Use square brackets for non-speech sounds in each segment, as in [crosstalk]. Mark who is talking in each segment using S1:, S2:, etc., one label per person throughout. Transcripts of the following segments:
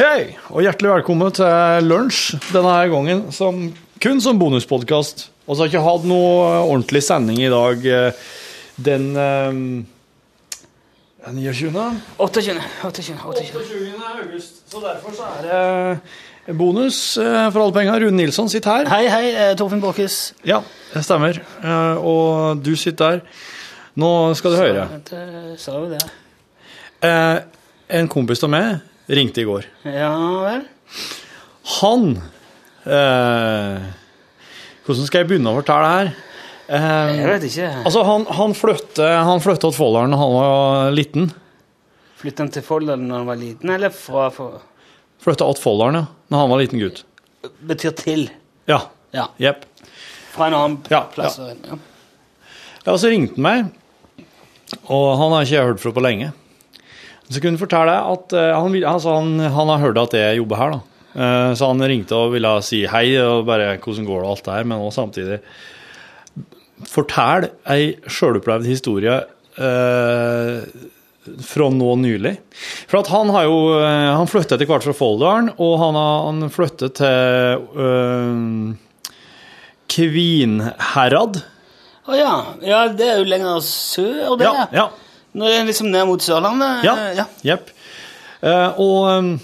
S1: Hei, og hjertelig velkommen til lunsj denne her gangen, som, kun som bonuspodkast. Vi har ikke hatt noe ordentlig sending i dag eh, den eh, den 29.
S2: 28. 28, 28.
S1: 28. august, så derfor så er det bonus eh, for alle penger. Rune Nilsson sitter her.
S2: Hei, hei, eh, Torfinn Borchhus.
S1: Ja, det stemmer. Eh, Og du sitter der. Nå skal du høre.
S2: Dette Sa jo det.
S1: Eh, En kompis av meg ringte i går.
S2: Ja vel.
S1: Han eh, Hvordan skal jeg begynne å fortelle her?
S2: Jeg
S1: Eh,
S2: vet ikke.
S1: altså, han, han flytta han flytta til Folldalen da han var liten.
S2: Flyttet han til Folldalen da han var liten, eller fra, fra
S1: Flytta til Folldalen, ja, da han var liten gutt.
S2: Betyr til.
S1: Ja.
S2: Ja.
S1: Jepp.
S2: Fra en annen
S1: Ja,
S2: plass.
S1: ja.
S2: Ja.
S1: Ja, så ringte han meg, og han har ikke jeg hørt fra på lenge. Så kunne han fortelle deg at eh, han, vil- altså, han, han har hørt at jeg jobber her, da. Eh, så han ringte og ville si hei og bare hvordan går det og alt det her, men også samtidig Fortell ei sjølopplevd historie eh, fra nå nylig. For at han har jo eh, Han flytta etter hvert fra Folldalen, og han, har- han flytta til eh, Kvinherad.
S2: Å ja. ja, det er jo lenger sør, det.
S1: Ja, ja.
S2: Når det er liksom ned mot Sørlandet.
S1: Ja.
S2: eh, ja.
S1: Jepp. Eh, og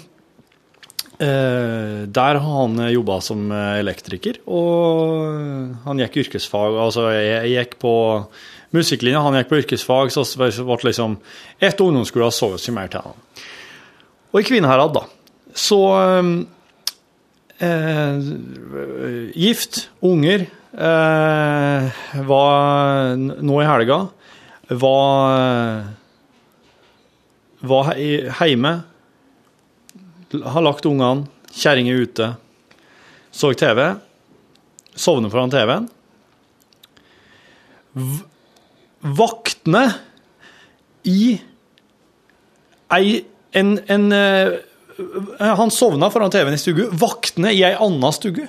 S1: eh, der har han jobba som elektriker, og han gikk yrkesfag. Altså, jeg, jeg gikk på musikklinja, han gikk på yrkesfag, så det ble liksom Etter ungdomsskolen så vi ikke mer til han. Og i Kvinnherad, da, så um, eh, eh, Gift, unger, eh, var nå i helga var var he- hjemme, l- har lagt ungene, kjerringa er ute, så TV, sovner foran TV-en. V- Vakne i ei en, en eh, Han sovna foran TV-en i stugu. Vakne i ei anna stugu.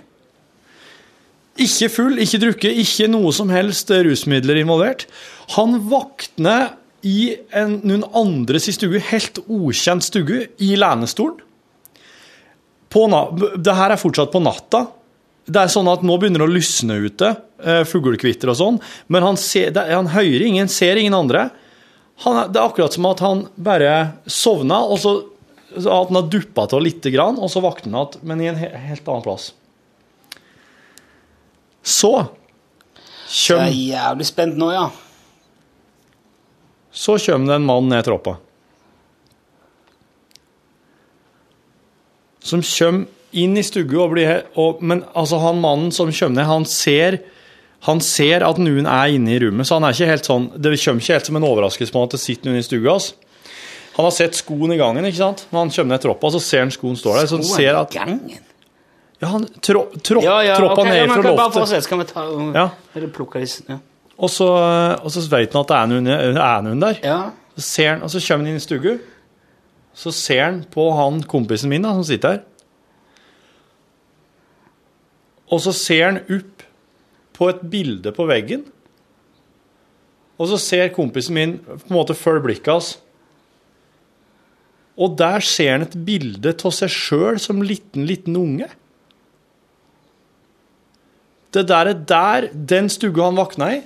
S1: Ikke full, ikke drukket, ikke noe som helst rusmidler involvert. Han vakner i en, noen andres i stue, helt ukjent stue, i lenestolen. På na det her er fortsatt på natta. Det er sånn at Nå begynner det å lysne ute, eh, fuglekvitter og sånn, men han, ser, det, er- han hører ingen, ser ingen andre. Han, er- det er akkurat som at han bare sovna, og så så at han har duppa av lite grann, og så våkner han igjen, men i en he helt annen plass. Så
S2: Jeg er
S1: kjøm,
S2: jævlig spent nå, ja.
S1: så kjøm det en mann ned trappa. Som kjøm inn i stugget og blir he- og, Men altså, han mannen som kjøm ned, han ser han ser at noen er inne i rommet, så han er ikke helt sånn, det kommer ikke helt som en overraskelse på han at det sitter noen i stua hans. Han har sett skoen i gangen, ikke sant? Når han kommer ned trappa, så ser han skoen står der. Så han
S2: Skoen
S1: ser
S2: i
S1: at
S2: gangen.
S1: Ja, han trå, trå,
S2: Ja, ja,
S1: tråppa
S2: ok, ja,
S1: ned
S2: men
S1: fra
S2: kan Bare
S1: loftet.
S2: fortsett, så kan vi ta og-
S1: Ja.
S2: Eller plukke disse. Ja.
S1: Og så, og så vet han at det er noen, er noen der.
S2: ja.
S1: Så ser han, og så kommer han inn i stugu. Så ser han på han kompisen min da, som sitter her. Og så ser han opp på et bilde på veggen. Og så ser kompisen min på en måte følge blikket hans. Og der ser han et bilde av seg sjøl som liten, liten unge. Det der er der den stugga han vakna i.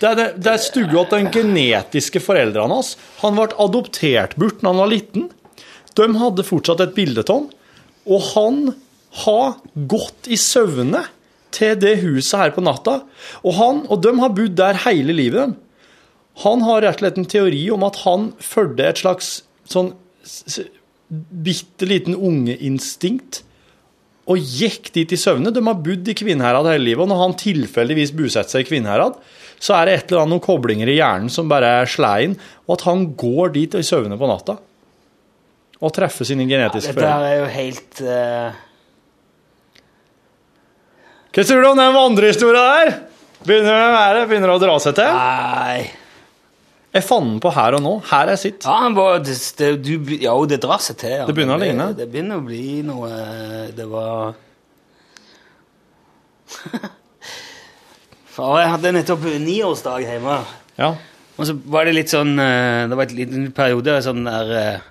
S1: Det er, det, det er stugga til den genetiske foreldrene hans. Han ble adoptert bort da han var liten. De hadde fortsatt et bilde av han. Og han har gått i søvne til det huset her på natta. Og han og de har bodd der hele livet. dem. Han har rett og slett en teori om at han fulgte et slags sånn s- s- bitte liten ungeinstinkt og gikk dit i søvne. De har bodd i Kvinnherad hele livet, og når han tilfeldigvis bosetter seg i Kvinnherad, så er det et eller annet noen koblinger i hjernen som bare er sleien, og at han går dit i søvne på natta og treffer sine genetiske
S2: Dette her
S1: foreldre.
S2: er jo helt eh,
S1: Hva tror du om den vandrehistoria der? Begynner det å være- begynner det å dra seg til?
S2: Nei.
S1: Jeg fant den på her og nå. Her er sitt.
S2: Ja, han var, det, det, du, ja, det drar seg til. Ja.
S1: Det begynner å
S2: blir-
S1: ligne.
S2: Det begynner å bli noe eh, Det var [laughs] Far, jeg hadde nettopp niårsdag hjemme.
S1: Ja.
S2: Og så var det litt sånn eh, Det var en liten periode sånn der eh,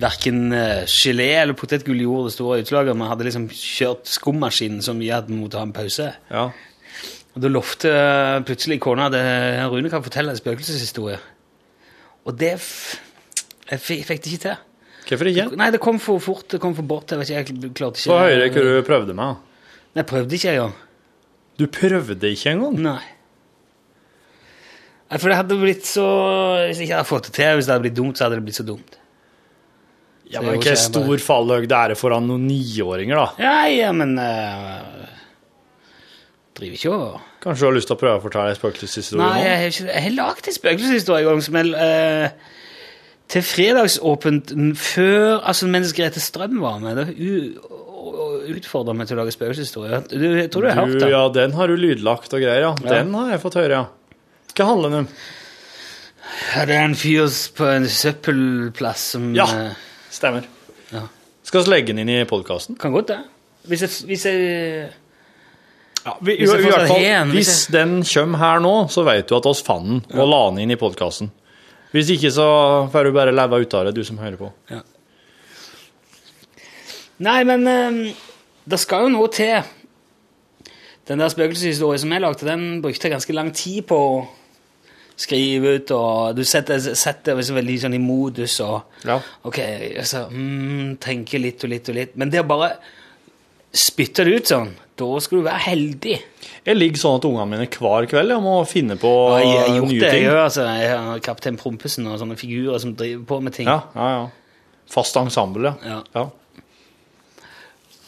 S2: verken eh, gelé eller potetgull gjorde det store utslaget. Vi hadde liksom kjørt skummaskinen så mye at vi måtte ha en pause.
S1: Ja.
S2: Og Da lovte plutselig kona at eh, Rune kan fortelle en spøkelseshistorie. Og det f jeg fikk, fikk det ikke til.
S1: Hvorfor ikke?
S2: Nei, det kom for fort, det kom for bort. Jeg vet ikke, jeg klarte ikke
S1: Få høre hva du prøvde med.
S2: Nei, Jeg prøvde ikke engang.
S1: Du prøvde ikke engang?
S2: Nei. Nei, For det hadde blitt så Hvis jeg ikke hadde fått det til, hvis det hadde blitt dumt, så hadde det blitt så dumt.
S1: Ja, men Hva stor fallhøgde er det foran noen niåringer, da?
S2: Ja, ja, men eh, Driver ikke og
S1: Kanskje du har lyst til å prøve å fortelle en spøkelseshistorie
S2: Nei,
S1: nå?
S2: jeg har, ikke, jeg har lagt en spøkelseshistorie en gang som jeg eh, Til fredagsåpent n- før Altså mens Grete Strøm var med. Da u- og- og utfordret meg til å lage spøkelseshistorie. Du, jeg tror du har hørt
S1: Du,
S2: den.
S1: ja, den har du lydlagt og greier, ja.
S2: Ja.
S1: Den har jeg fått høre, ja. Hva handler den om?
S2: Ja, Det er en fyr s- på en søppelplass som
S1: Ja.
S2: eh,
S1: Stemmer.
S2: Ja.
S1: Skal vi legge den inn i podkasten?
S2: Kan godt det. Hvis jeg, hvis jeg
S1: Ja, vi,
S2: Hvis jeg
S1: i
S2: fortsatt
S1: hvert fall,
S2: har en,
S1: hvis
S2: hvis
S1: den kommer her nå, så vet du at oss fant den og la den inn i podkasten. Hvis ikke, så får du bare leve ut av det, du som hører på.
S2: Nei, men eh, det skal jo noe til. Den der spøkelseshistorien som jeg lagde, den brukte jeg ganske lang tid på å skrive ut, og du setter, setter liksom veldig sånn i modus og
S1: Ja.
S2: Ok, altså mm, Tenker litt og litt og litt. Men det å bare spytte det ut sånn, da skal du være heldig.
S1: Jeg ligger sånn at ungene mine hver kveld jeg må finne på
S2: Og jeg har gjort
S1: nye
S2: det, jeg
S1: ting.
S2: gjør altså. Jeg har Kaptein Prompesen og sånne figurer som driver på med ting.
S1: Ja, ja, ja. Fast ensemble, ja.
S2: Ja.
S1: ja.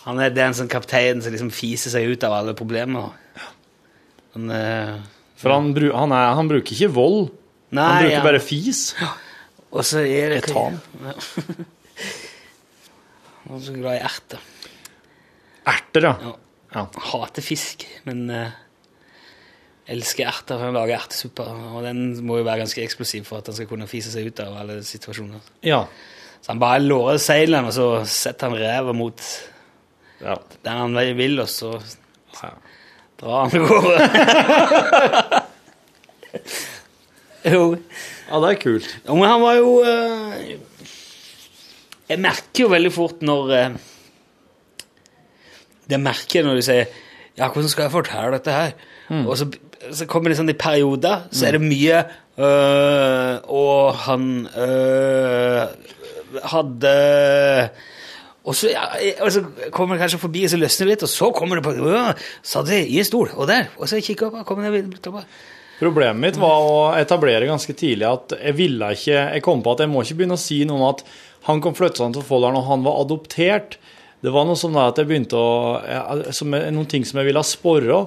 S2: Han er den sånn kapteinen som liksom fiser seg ut av alle problemer. Han, eh,
S1: For han, bru- han, er, han bruker ikke vold,
S2: nei,
S1: han bruker
S2: ja.
S1: bare fis.
S2: Og så er det
S1: Jeg tar den.
S2: Ja. [laughs] Han er så glad i erter.
S1: Erter, ja.
S2: Ja.
S1: Ja.
S2: Hater fisk, men eh, elsker erter. Han lager ertesuppe, og den må jo være ganske eksplosiv for at han skal kunne fise seg ut av alle situasjoner.
S1: ja.
S2: Så han bare lårer seilene, og så setter han ræva mot
S1: ja.
S2: der han vil, og så
S1: ja.
S2: drar han av gårde. [laughs] jo.
S1: Ja, det er kult.
S2: Ja, men han var jo eh, Jeg merker jo veldig fort når eh, Det merker jeg når du sier Ja, hvordan skal jeg fortelle dette her? Og så, så kommer det sånn i perioder, så er det mye øh, Og han øh, hadde og så, ja, og så kommer det kanskje forbi, og så løsner det litt, og så kommer det på øh, Satt jeg i en stol, og der, og så kikker jeg opp, og kommer det litt opp.
S1: Problemet mitt var å etablere ganske tidlig at jeg ville ikke Jeg kom på at jeg må ikke begynne å si noe om at han kom flyttende til Folldalen og han var adoptert. Det var noe sånn da at jeg begynte å jeg- som, jeg- Noen ting som jeg ville ha spora,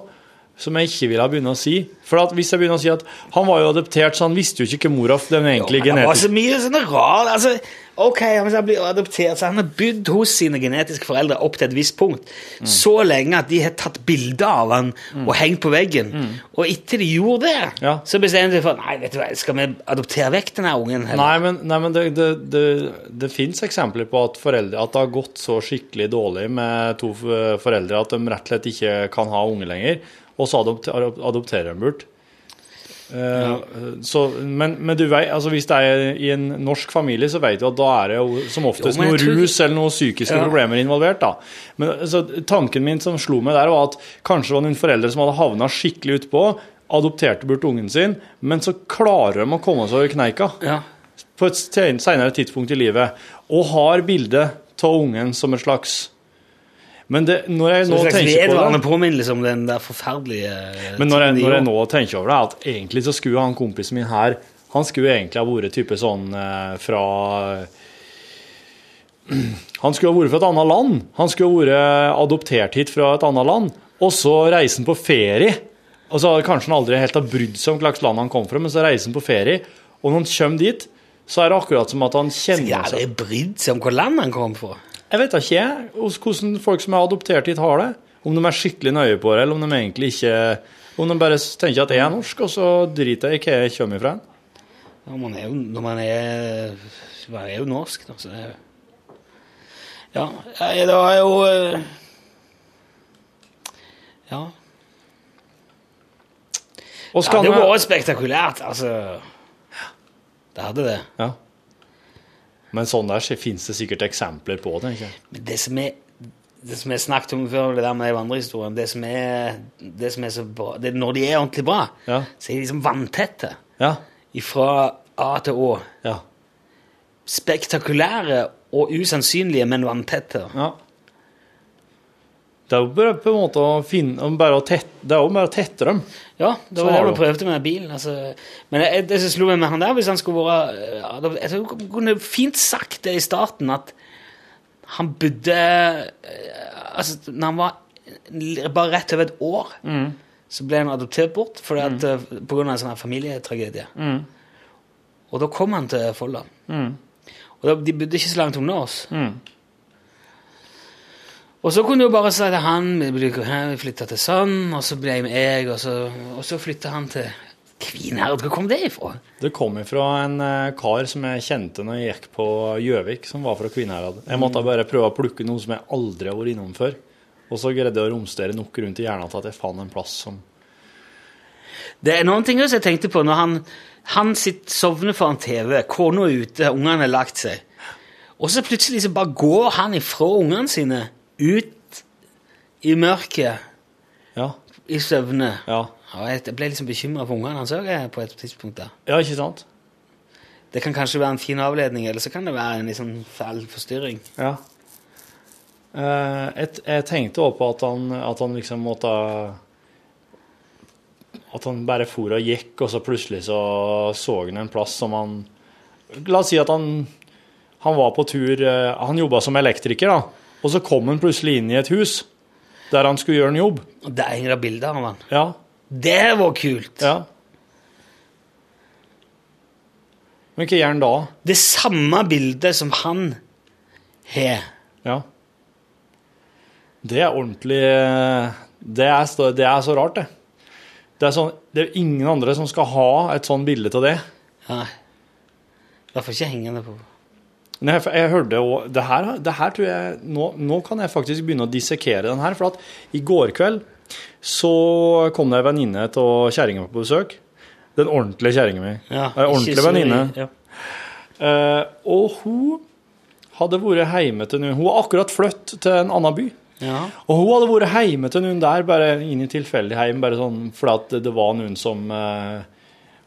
S1: som jeg ikke ville begynne å si. For at hvis jeg begynner å si at han var jo adoptert, så han visste jo ikke hvor mora den egentlige
S2: Ja, men Det var
S1: genetiske
S2: så mye sånn rar altså, Ok, hvis han blir adoptert, så han har bodd hos sine genetiske foreldre opp til et visst punkt. Så lenge at de har tatt bilder av han og hengt på veggen. Og etter de gjorde det,
S1: Mm. Ja.
S2: så bestemte de for Nei, vet du hva, skal vi adoptere vekk denne ungen? eller?
S1: Nei, men, nei, men det, det, det, det fins eksempler på at, foreldre, at det har gått så skikkelig dårlig med to f- foreldre at de rett og slett ikke kan ha unge lenger, og så adopt, adop- adopterer de bort. Eh, så, men, men du vet, altså hvis det er i en norsk familie, så vet du at da er det jo som oftest
S2: Jo, men
S1: noe
S2: jeg tror-
S1: rus eller noen psykiske
S2: Ja.
S1: problemer involvert. da. Men altså, Tanken min som slo meg der, var at kanskje det var noen foreldre som hadde havna skikkelig utpå, adopterte bort ungen sin, men så klarer de å komme seg over kneika
S2: Ja.
S1: på et sen- senere tidspunkt i livet, og har bildet av ungen som et slags Men det, når jeg
S2: Så
S1: nå
S2: en slags
S1: tenker på
S2: vedvarende
S1: det
S2: påminnelse om den der forferdelige eh,
S1: Men når jeg,
S2: tiden de
S1: når jeg
S2: gjorde.
S1: nå tenker over det, er at egentlig så skulle han kompisen min her Han skulle egentlig ha vært type sånn eh, fra [clears throat] Han skulle ha vært fra et annet land. Han skulle ha vært adoptert hit fra et annet land. Og så reiser han på ferie. Og så hadde kanskje han aldri helt har brydd seg om hva slags land han kom fra, men så reiser han på ferie, og når han kommer dit, så er det akkurat som at han kjenner
S2: Ja, det er brydd seg om hvor land han kom fra.
S1: jeg vet da ikke jeg, hos- hvordan folk som er adoptert hit, har det. Om de er skikkelig nøye på det, eller om de egentlig ikke Om de bare tenker at jeg er norsk, og så driter jeg i hva jeg kommer fra.
S2: Ja, man er jo, når man er, man er jo norsk, da, så det er jo Ja, nei, det var jo eh, Ja.
S1: Og
S2: Det hadde jo
S1: Skanne-
S2: vært spektakulært, altså. Det hadde det.
S1: ja. Men sånn der fins det sikkert eksempler på, tenker jeg.
S2: Men det som er det som jeg snakket om før, det der med vandrehistorien det som er, det som er så bra det, Når de er ordentlig bra,
S1: Ja.
S2: så er de liksom vanntette.
S1: Ja.
S2: Fra A til Å.
S1: Ja.
S2: Spektakulære og usannsynlige, men vanntette.
S1: ja. Det er jo bare på en måte å finne om bare å tette, Det er jo bare å tette dem.
S2: Ja, det
S1: Så
S2: var
S1: har du.
S2: det du prøvde med bilen. Altså. Men jeg, jeg, det som slo meg med han der, hvis han skulle vært eh, adopt- Jeg tror han kunne fint sagt det i starten, at han bodde eh, Altså, når han var l- bare rett over et år,
S1: Mm.
S2: så ble han adoptert bort fordi at, eh, på grunn av en sånn her familietragedie.
S1: Mm.
S2: Og da kom han til Folldal. Og da, de bodde ikke så langt unna oss. Og så kunne du jo bare si til han Vi bruker- «Hæ, vi flytta til Sand, og så ble jeg med jeg, og så, og så flytta han til Kvinnherad. Hvor kom det ifra?
S1: Det kom ifra en eh, kar som jeg kjente når jeg gikk på Gjøvik, som var fra Kvinnherad. Jeg måtte bare prøve å plukke noe som jeg aldri har vært innom før. Og så greide jeg å romstere nok rundt i hjernen til at jeg fant en plass som
S2: Det er noen ting også jeg tenkte på når han, han sitter, sovner foran TV, kona er ute, ungene har lagt seg. Og så plutselig så bare går han ifra ungene sine ut i mørket
S1: Ja,
S2: i søvne.
S1: ja.
S2: Ja, jeg ble liksom bekymra for ungene hans òg på et tidspunkt. da.
S1: Ja, ikke sant?
S2: Det kan kanskje være en fin avledning, eller så kan det være en liksom fæl forstyrring.
S1: Ja. Eh, et, jeg tenkte også på at han, at han liksom måtte At han bare for og gikk, og så plutselig så så han en plass som han La oss si at han, han var på tur eh, Han jobba som elektriker, da. Og så kom han plutselig inn i et hus der han skulle gjøre en jobb.
S2: Og der henger det bilder av han.
S1: Ja.
S2: Det var kult!
S1: ja. Men hva gjør han da?
S2: Det samme bildet som han har.
S1: Ja. Det er ordentlig eh, Det er, så- det er så rart, det. Det er, sånn, det er ingen andre som skal ha et sånn bilde av det.
S2: Ja. Derfor ikke hengende på.
S1: Men jeg, jeg hørte også, det, her, det her tror jeg nå, nå kan jeg faktisk begynne å dissekere den her. For at i går kveld så kom det ei venninne av kjerringa på besøk. Den ordentlige kjerringa mi.
S2: Ja,
S1: Ei ordentlig
S2: ikke så-
S1: venninne.
S2: Ja.
S1: Eh, og hun hadde vært hjemme til noen Hun har akkurat flyttet til en annen by.
S2: Ja.
S1: Og hun hadde vært hjemme til noen der, bare inn i tilfeldig hjem, bare sånn, fordi at det- det var noen som eh,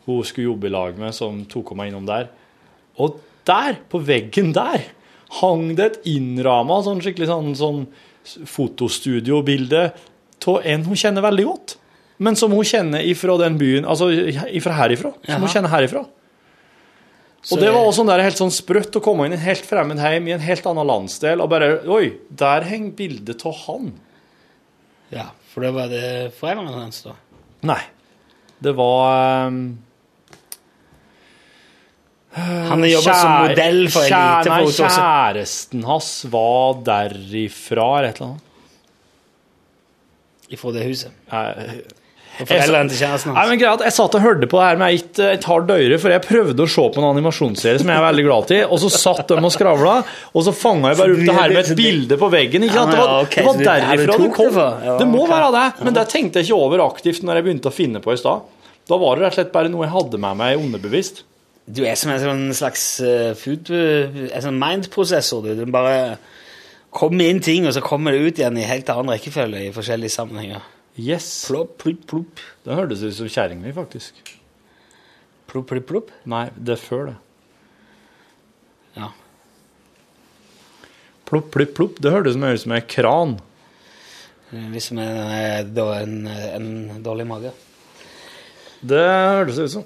S1: hun skulle jobbe i lag med, som tok meg innom der. Og der, på veggen der, hang det et innramma sånn skikkelig sånn, sånn fotostudiobilde av en hun kjenner veldig godt, men som hun kjenner ifra den byen, altså ifra herifra, som hun
S2: Jaha.
S1: kjenner herifra.
S2: Så
S1: og det var også sånn der, helt sånn sprøtt å komme inn i en helt fremmed heim i en helt annen landsdel og bare, oi, der henger bildet av han.
S2: Ja, for det var det foreldrene hans, da.
S1: Eh, Nei. Det var um,
S2: Han har jobba som modell for
S1: kjæ- nei,
S2: elitefoto. også.
S1: Kjæresten hans var derifra, eller et eller annet.
S2: Ifra det huset.
S1: Nei,
S2: Og foreldrene til kjæresten
S1: Nei,
S2: hans.
S1: men greia at Jeg satt og hørte på det her med et, eh, et hardt øre, for jeg prøvde å se på en animasjonsserie som jeg er veldig glad i, og så satt de og skravla, og så fanga jeg bare opp det her med et bilde på veggen. ikke sant? Det
S2: Ja,
S1: var, det
S2: men ja, ok,
S1: var
S2: så det er der du
S1: derifra det
S2: tok det
S1: kom.
S2: fra. Ja,
S1: Det må
S2: ok.
S1: være det, men det tenkte jeg ikke over aktivt når jeg begynte å finne på i stad. Da var det rett og slett bare noe jeg hadde med meg underbevisst.
S2: Du er som en sånn slags eh, food eh, En sånn mind-prosessor, du. Den bare kommer inn ting, og så kommer det ut igjen i helt annen rekkefølge i forskjellige sammenhenger.
S1: Yes.
S2: Plopp, plopp, plopp.
S1: Den hørtes ut som kjerringa mi, faktisk.
S2: Plopp, plopp, plopp.
S1: Nei, det er før det.
S2: Ja.
S1: Plopp, plopp, plopp. Det hørtes mer ut som en kran.
S2: Eh, Hvis man er da en, en dårlig mage.
S1: Det hørtes ut som.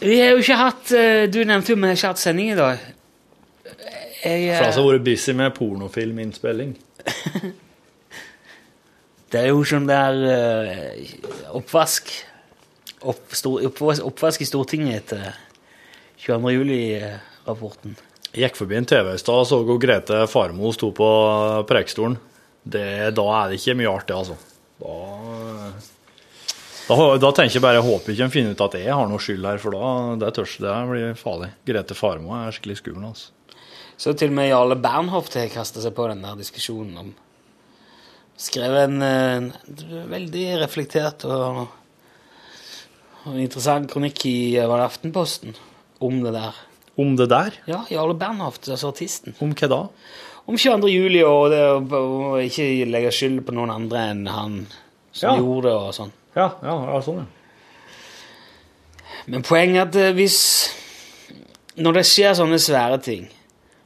S2: Vi har jo ikke hatt eh, Du nevnte jo vi har ikke hatt sending i dag. Jeg, eh,
S1: For altså, vært busy med pornofilminnspilling.
S2: det er jo sånn der eh, oppvask opp, stor, oppvask, oppvask i Stortinget etter 22. juli-rapporten.
S1: Jeg gikk forbi en TV i stad og så hvor Grete Farmo sto på prekestolen. Det, da er det ikke mye artig, altså. Da, da, da tenker jeg bare jeg håper ikke de finner ut at jeg har noe skyld her, for da det tørs det her blir farlig. Grete Farmo er skikkelig skummel, altså.
S2: Så til og med Jarle Bernhoft har kasta seg på den der diskusjonen om Skrev en, eh, en veldig reflektert og, og interessant kronikk i eh, var det Aftenposten om det der.
S1: Om det der?
S2: Ja, Jarle Bernhoft, altså artisten.
S1: Om hva da?
S2: Om 22. juli og, det, å- å ikke legge skyld på noen andre enn han som
S1: Ja.
S2: gjorde det og sånn.
S1: Ja, ja, ja sånn, ja.
S2: Men poenget er at eh, hvis Når det skjer sånne svære ting,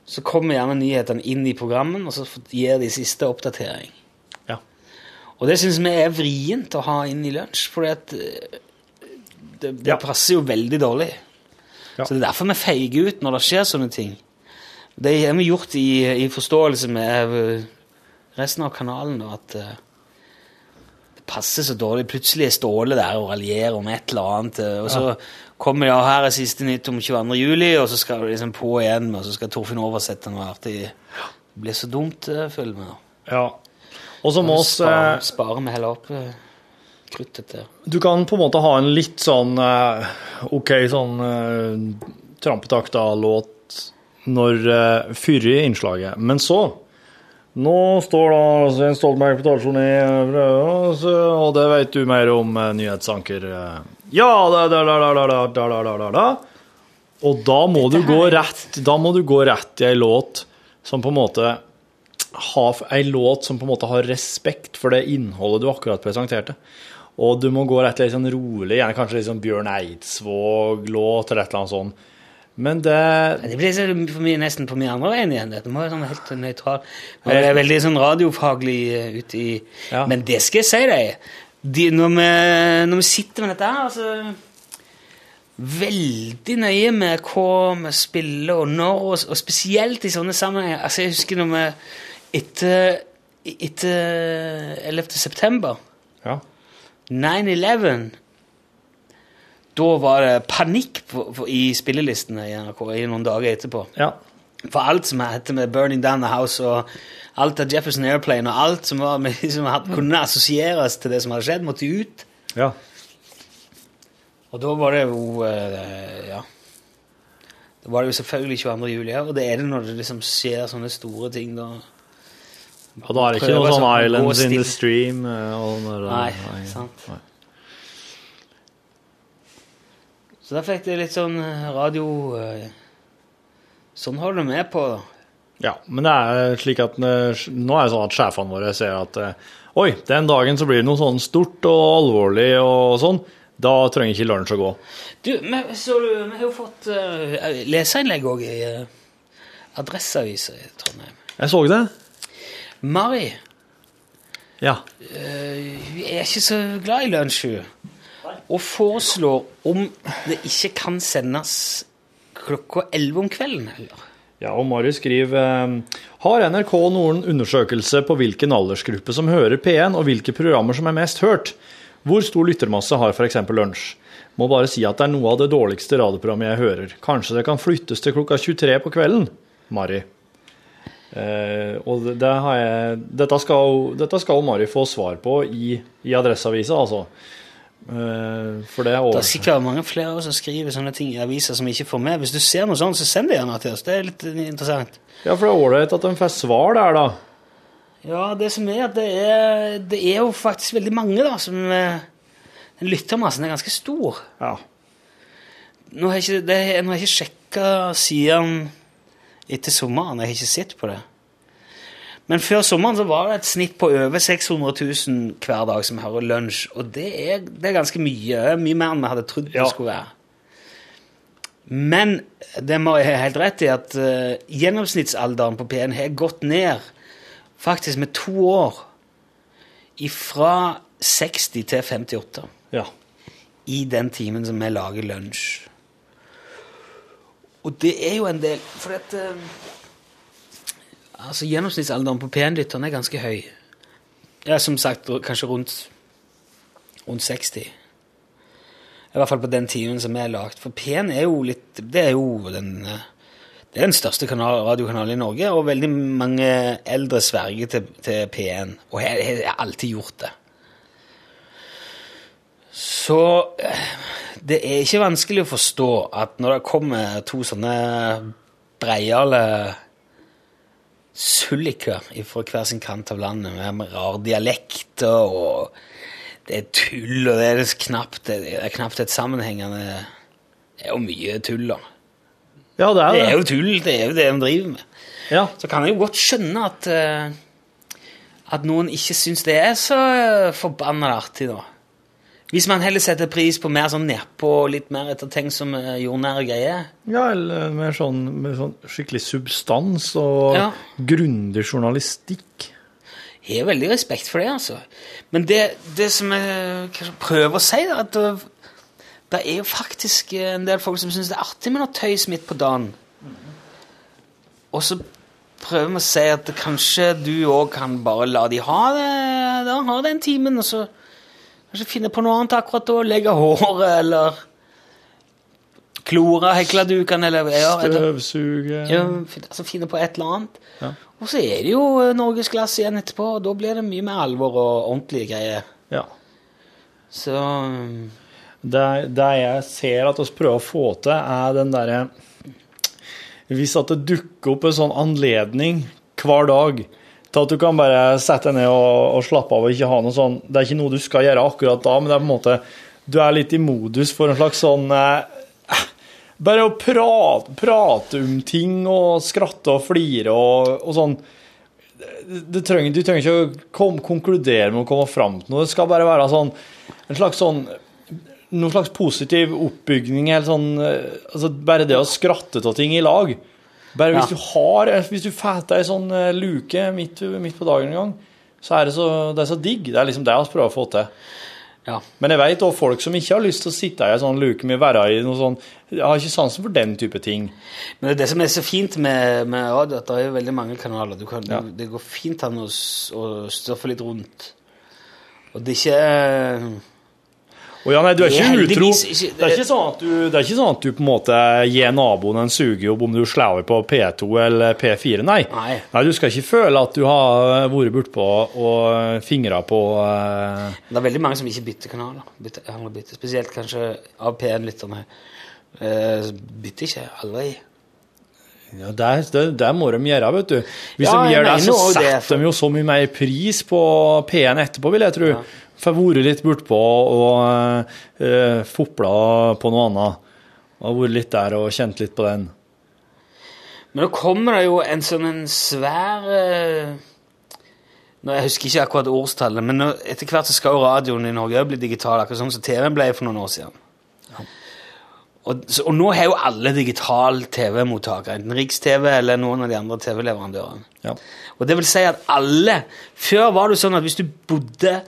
S2: så kommer gjerne nyhetene inn i programmen, og så f- gir de siste oppdatering.
S1: Ja.
S2: Og det syns vi er vrient å ha inn i lunsj, for det, det
S1: Ja.
S2: passer jo veldig dårlig.
S1: Ja.
S2: Så det er derfor vi feiger ut når det skjer sånne ting. Det har vi gjort i, i forståelse med eh, resten av kanalen, da, at eh, det passer så dårlig. Plutselig er Ståle der og raljerer om et eller annet. eh, Og så kommer det, og her er siste nytt om 22. juli, og så skal det liksom på igjen, og så skal Torfinn oversette noe artig. Det blir så dumt, eh, føler vi. da.
S1: ja. Og så må oss
S2: Spar-
S1: eh,
S2: Sparer vi heller opp eh, kruttet der.
S1: Du kan på en måte ha en litt sånn eh, OK sånn eh, trampetakta-låt når uh, fyrer innslaget. Men så Nå står da Svein Stoltenberg på talerstolen i eh, Røros, eh, og det vet du mer om eh, nyhetsanker. eh. Ja, da, da, da, da, da, da, da, da, da, da, da. Og da må du gå rett Da må du gå rett i ei låt som på en måte har ei låt som på en måte har respekt for det innholdet du akkurat presenterte. Og du må gå rett til litt sånn rolig, gjerne kanskje litt sånn Bjørn Eidsvåg-låt eller et eller annet sånt. Men det
S2: Det blir så for mye, nesten på mye andre veien igjen. Dette må være sånn helt nøytral. Men Det er veldig sånn radiofaglig eh, ut i
S1: Ja.
S2: Men det skal jeg si deg. De, når, vi, når vi sitter med dette her, altså Veldig nøye med hva vi spiller, og når, og, og spesielt i sånne sammenhenger. Altså, jeg husker når vi Etter, etter 11. september
S1: Ja.
S2: 9-11 Da var det panikk på, på, i spillelistene i NRK i noen dager etterpå.
S1: Ja.
S2: For alt som heter med Burning Down the House og alt av Jefferson Airplane og alt som, var med, [laughs] som had- kunne assosieres til det som hadde skjedd, måtte ut.
S1: Ja.
S2: Og da var det jo eh, Ja. Da var det jo selvfølgelig 22. juli, ja, og det er det når det liksom skjer sånne store ting, da.
S1: Og da er det ikke
S2: Prøver
S1: noe sånn
S2: sånn, gå
S1: 'Islands in
S2: stille.
S1: the Stream' eh, og når,
S2: Nei, sant.
S1: nei.
S2: Så da fikk det litt sånn eh, radio eh, Sånn holder du med på, da.
S1: Ja, men det er slik at eh, nå er det sånn at sjefene våre ser at eh, Oi, den dagen så blir det noe sånn stort og alvorlig og sånn. Da trenger ikke lunsj å gå.
S2: Du, men, så du, vi har jo fått eh, leserinnlegg òg i uh, Adresseavisa i Trondheim.
S1: Jeg så det.
S2: Mari
S1: Ja.
S2: eh, hun er ikke så glad i lunsj, hun. Og foreslår om det ikke kan sendes klokka 11 om kvelden heller.
S1: Ja, og Mari skriver eh, Har NRK noen undersøkelse på hvilken aldersgruppe som hører P1, og hvilke programmer som er mest hørt? Hvor stor lyttermasse har f.eks. lunsj? Må bare si at det er noe av det dårligste radioprogrammet jeg hører. Kanskje det kan flyttes til klokka 23 på kvelden? Mari. Eh, og det, det har jeg, dette, skal, dette skal Mari få svar på i, i Adresseavisa, altså. Eh, for det er
S2: Det
S1: over.
S2: er sikkert mange flere også som skriver sånne ting i aviser som vi ikke får med. Hvis du ser noe sånt, så send det gjerne til oss. Det er litt interessant.
S1: Ja, for det er ålreit at de får svar der, da.
S2: Ja, det som er at det er, det er jo faktisk veldig mange, da, som eh, Den lyttermassen er ganske stor.
S1: Ja.
S2: Nå har jeg ikke, det, nå har jeg ikke sjekka siden etter sommeren. Jeg har ikke sett på det. Men før sommeren så var det et snitt på over 600 000 hver dag som hører lunsj. Og det er, det er ganske mye. Det er Mye mer enn vi hadde trodd
S1: Ja.
S2: det skulle være. Men det må jeg ha helt rett i, at eh, gjennomsnittsalderen på P1 har gått ned faktisk med to år. Fra 60 til 58
S1: ja.
S2: i den timen som vi lager lunsj. Og det er jo en del For at eh, Altså, gjennomsnittsalderen på P1-lytterne er ganske høy. Ja, som sagt, r- kanskje rundt rundt 60. I hvert fall på den timen som vi har lagd. For P1 er jo litt Det er jo den eh, det er den største kanal, radiokanalen i Norge, og veldig mange eldre sverger til, til P1. Og jeg jeg har alltid gjort det. Så eh, det er ikke vanskelig å forstå at når det kommer to sånne breiale sulliker fra hver sin kant av landet med rar dialekt og det er tull, og det er knapt, det er knapt et sammenhengende Det er jo mye tull, da.
S1: Ja, det
S2: Det er
S1: er det.
S2: jo tull, det er jo det de driver med.
S1: Ja.
S2: Så kan jeg jo godt skjønne at, eh, at noen ikke syns det er så forbanna artig, da. Hvis man heller setter pris på mer sånn nedpå og litt mer ettertenksomme eh, jordnære greier.
S1: ja, eller med sånn, med sånn skikkelig substans og
S2: Ja.
S1: grundig journalistikk.
S2: Jeg har veldig respekt for det, altså. Men det, det som jeg kanskje prøver å si, er at det, det er jo faktisk eh, en del folk som syns det er artig med noe tøys midt på dagen. Og så prøver vi å si at kanskje du òg kan bare la de ha det da, ha den timen, og så kanskje finne på noe annet akkurat da. Legge håret, eller klore hekladukene, eller ja, et-
S1: Støvsuge
S2: ja, fin- altså finne på et eller annet.
S1: Ja.
S2: Og så er det jo eh, norgesglass igjen etterpå, og da blir det mye mer alvor og ordentlige greier.
S1: Ja.
S2: Så mm,
S1: Det, det jeg ser at oss prøver å få til, er den derre Hvis at det dukker opp en sånn anledning hver dag til at du kan bare sette deg ned og, og slappe av og ikke ha noe sånn Det er ikke noe du skal gjøre akkurat da, men det er på en måte Du er litt i modus for en slags sånn eh, Bare å prate, prate om ting og skratte og flire og, og sånn. Det, det trenger, du trenger ikke å kom, konkludere med å komme fram til noe. Det skal bare være sånn, en slags sånn noen slags positiv oppbygning eller sånn eh, altså Bare det å skratte av ting i lag. Bare hvis
S2: Ja.
S1: du har eh, Hvis du fatter ei sånn eh, luke midt, midt på dagen en gang, så er det så, det er så digg. Det er liksom det vi prøver å få til.
S2: ja.
S1: Men jeg veit òg folk som ikke har lyst til å sitte i ei sånn luke med å være i noe sånn Jeg har ikke sansen for den type ting.
S2: Men det er det som er så fint med, med radio, at det er jo veldig mange kanaler. Du kan,
S1: Ja.
S2: Det går fint an å, s- å støffe litt rundt. Og det er ikke eh,
S1: Og ja, nei, du er
S2: Det er
S1: ikke utro.
S2: heldigvis ikke-
S1: Det er ikke sånn at du, det er ikke sånn at du på en måte gir naboen en sugejobb om du slår over på P2 eller P4, nei.
S2: Nei.
S1: du skal ikke føle at du har eh, vært bortpå og fingra på eh,
S2: Det er veldig mange som ikke bytter kanaler. Bytter, eller bytter, spesielt kanskje av P1-lytterne. Eh, bytter ikke. Aldri.
S1: ja, der, der, der må de gjøre, vet du. Hvis
S2: Ja,
S1: de
S2: jeg
S1: gjør det,
S2: mener
S1: så
S2: også det,
S1: setter
S2: for-
S1: de jo så mye mer pris på P1 etterpå, vil jeg tro. Får vært litt bortpå og uh, fopla på noe annet. Og vært litt der og kjent litt på den.
S2: Men nå kommer det jo en sånn en svær eh, nå, Jeg husker ikke akkurat årstallet, men nå, etter hvert så skal jo radioen i Norge også bli digital, akkurat sånn som TV-en ble for noen år siden. Og, så, og nå har jo alle digital TV-mottaker, enten Riks-TV eller noen av de andre TV-leverandørene.
S1: Ja.
S2: Og det vil si at alle Før var det sånn at hvis du bodde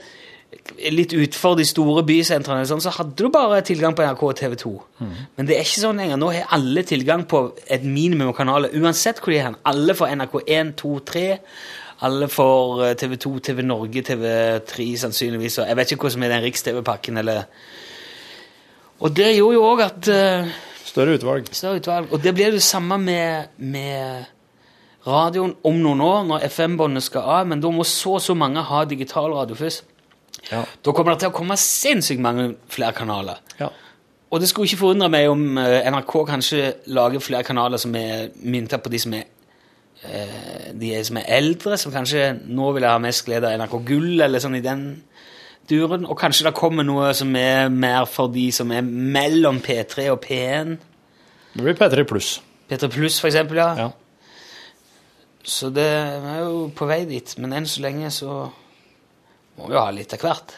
S2: litt utenfor de store bysentrene, og sånn, så hadde du bare tilgang på NRK og TV 2. Men det er ikke sånn lenger. Nå har alle tilgang på et minimum av kanaler, uansett hvor de er hen. Alle får NRK1, 2, 3. Alle får eh, TV 2, TV Norge, TV 3 sannsynligvis. Og jeg vet ikke hva som er den Riks-TV-pakken, eller Og det gjorde jo òg at eh,
S1: Større utvalg.
S2: Større utvalg. Og det blir det samme med, med radioen om noen år, når FM-båndet skal av, men da må så og så mange ha digital radio først.
S1: Ja.
S2: Da kommer det til å komme sinnssykt mange flere kanaler.
S1: ja.
S2: Og det skulle ikke forundre meg om eh, NRK kanskje lager flere kanaler som er mynta på de som er eh, de som er eldre, som kanskje nå vil ha mest glede av NRK Gull, eller sånn i den duren. Og kanskje det kommer noe som er mer for de som er mellom P3 og P1.
S1: Det blir P3 pluss.
S2: P3 Pluss, for eksempel, ja.
S1: Ja.
S2: Så det vi er jo på vei dit. Men enn så lenge så må vi jo ha litt av hvert.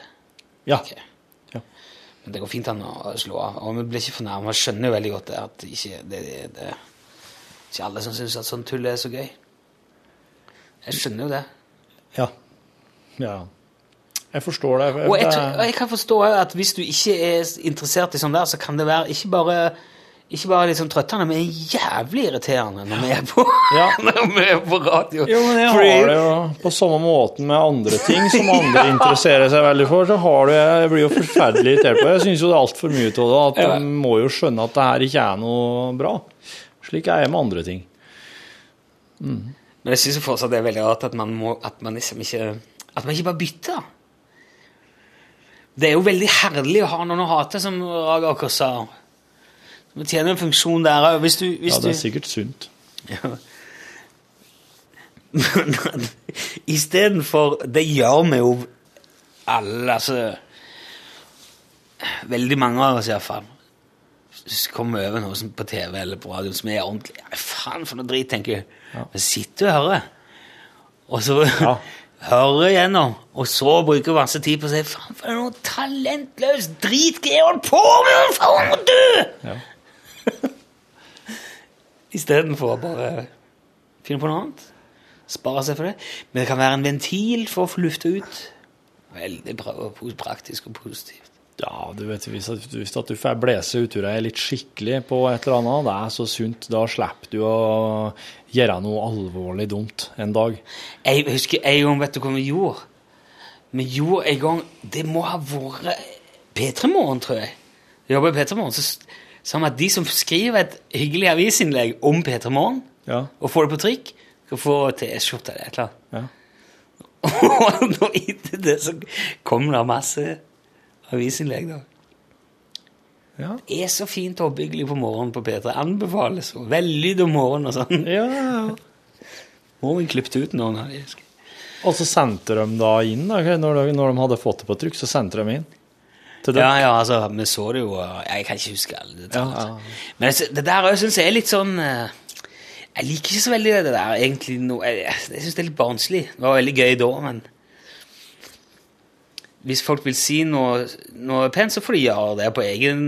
S1: Ja.
S2: Ok.
S1: Ja.
S2: Men det går fint an å slå av. Og vi blir ikke fornærma. Skjønner jo veldig godt det at ikke det, det, det ikke alle som syns at sånn tull er så gøy. Jeg skjønner jo det.
S1: Ja. ja. Jeg forstår det.
S2: Og jeg, tror- og jeg kan forstå at hvis du ikke er interessert i sånn der, så kan det være ikke bare ikke bare litt sånn trøttende, men jævlig irriterende når vi er på,
S1: Ja.
S2: [laughs] når vi er på radio.
S1: jo, men jeg
S2: Fordi-
S1: har det jo på samme måten med andre ting som andre interesserer seg veldig for. Så har du, jeg blir jo forferdelig irritert på det. Jeg syns jo det er altfor mye av det. At
S2: Ja.
S1: de må jo skjønne at det her ikke er noe bra. Slik er jeg med andre ting.
S2: Men jeg syns fortsatt det er veldig rart at man, må, at man liksom ikke At man ikke bare bytter. Det er jo veldig herlig å ha noen å hate, som Raga Aker sa. Man tjener en funksjon der òg, hvis du, hvis
S1: Ja, det er
S2: du
S1: sikkert sunt.
S2: ja. Men istedenfor Det gjør vi jo alle, altså Veldig mange av oss iallfall. s- kommer over noe som på TV eller på radio som er ordentlig Nei, faen for noe drit, tenker du. Men så sitter du og hører, og så
S1: Ja.
S2: [laughs] hører gjennom, og så bruker du masse tid på å si faen for noe talentløs drit hva er han på med, faen må du!
S1: Ja.
S2: Istedenfor å bare finne på noe annet. Spare seg for det. Men det kan være en ventil for å få lufta ut. Veldig bra og pos- praktisk og positivt.
S1: Ja, du vet, hvis, at- hvis at du får blæse uturet litt skikkelig på et eller annet, det er så sunt. Da slipper du å gjøre noe alvorlig dumt en dag.
S2: Jeg husker en gang, vet du hva vi gjorde? Vi gjorde en gang Det må ha vært P3-morgen, tror jeg. Jeg jobber i P3-morgen. Så s- sa vi at de som skriver et hyggelig avisinnlegg om P3-morgen,
S1: Ja.
S2: og får det på trykk, skal få T-skjorte eller et eller annet. [laughs]
S1: ja.
S2: Og når etter det så kom det masse avisinnlegg, da.
S1: Ja.
S2: Det er så fint og oppbyggelig på morgenen på P3. Anbefales. Og vellyd om morgenen og sånn.
S1: ja, ja, ja.
S2: Må vi klippet ut noen av de, husker jeg.
S1: Og så sendte de da inn, da, når, de, når de hadde fått det på trykk, så sendte de inn. Til
S2: Ja,
S1: deg.
S2: ja, altså, vi så det jo og Jeg kan ikke huske alle detaljer.
S1: Ja, ja.
S2: Men jeg sy- det der òg syns jeg er litt sånn eh, Jeg liker ikke så veldig det der, egentlig. nå. jeg jeg syns det er litt barnslig. Det var veldig gøy da, men Hvis folk vil si noe, noe pent, så får de gjøre det på, egen,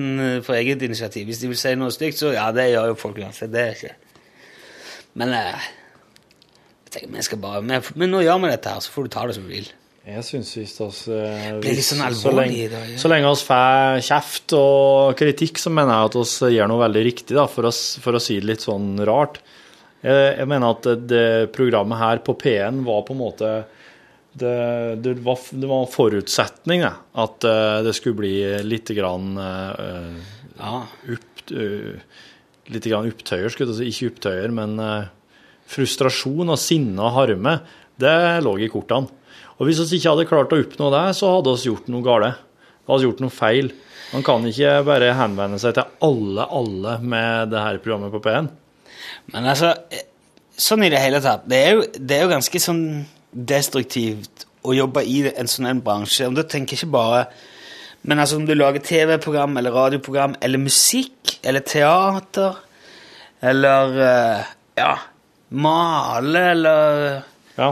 S2: på eget initiativ. Hvis de vil si noe stygt, så ja, det gjør jo folk uansett. Det er ikke Men eh, jeg tenker, vi skal bare men, men nå gjør vi dette her, så får du ta det som du vil.
S1: Jeg syns visst oss eh,
S2: Blir litt sånn
S1: hvis-
S2: alvorlig
S1: så lenge,
S2: i dag, ja.
S1: Så lenge oss får kjeft og kritikk, så mener jeg at oss gjør noe veldig riktig, da, for, å s- for å si det litt sånn rart. Jeg, jeg mener at det, det programmet her på P1 var på en måte det, det, var, det var en forutsetning da, at eh, det skulle bli litt grann eh,
S2: Ja,
S1: upp, eh, litt grann opptøyer, skulle jeg til å si. Ikke opptøyer, men eh, frustrasjon og sinne og harme, det lå i kortene. Og hvis vi ikke hadde klart å oppnå det, så hadde vi gjort noe gale. Da hadde vi gjort noe feil. Man kan ikke bare henvende seg til alle, alle med det her programmet på P1.
S2: Men altså, eh, sånn i det hele tatt Det er jo, det er jo ganske sånn destruktivt å jobbe i en sånn en bransje. Om du tenker ikke bare Men altså, om du lager TV-program eller radioprogram eller musikk eller teater eller eh, Ja, male eller
S1: Ja.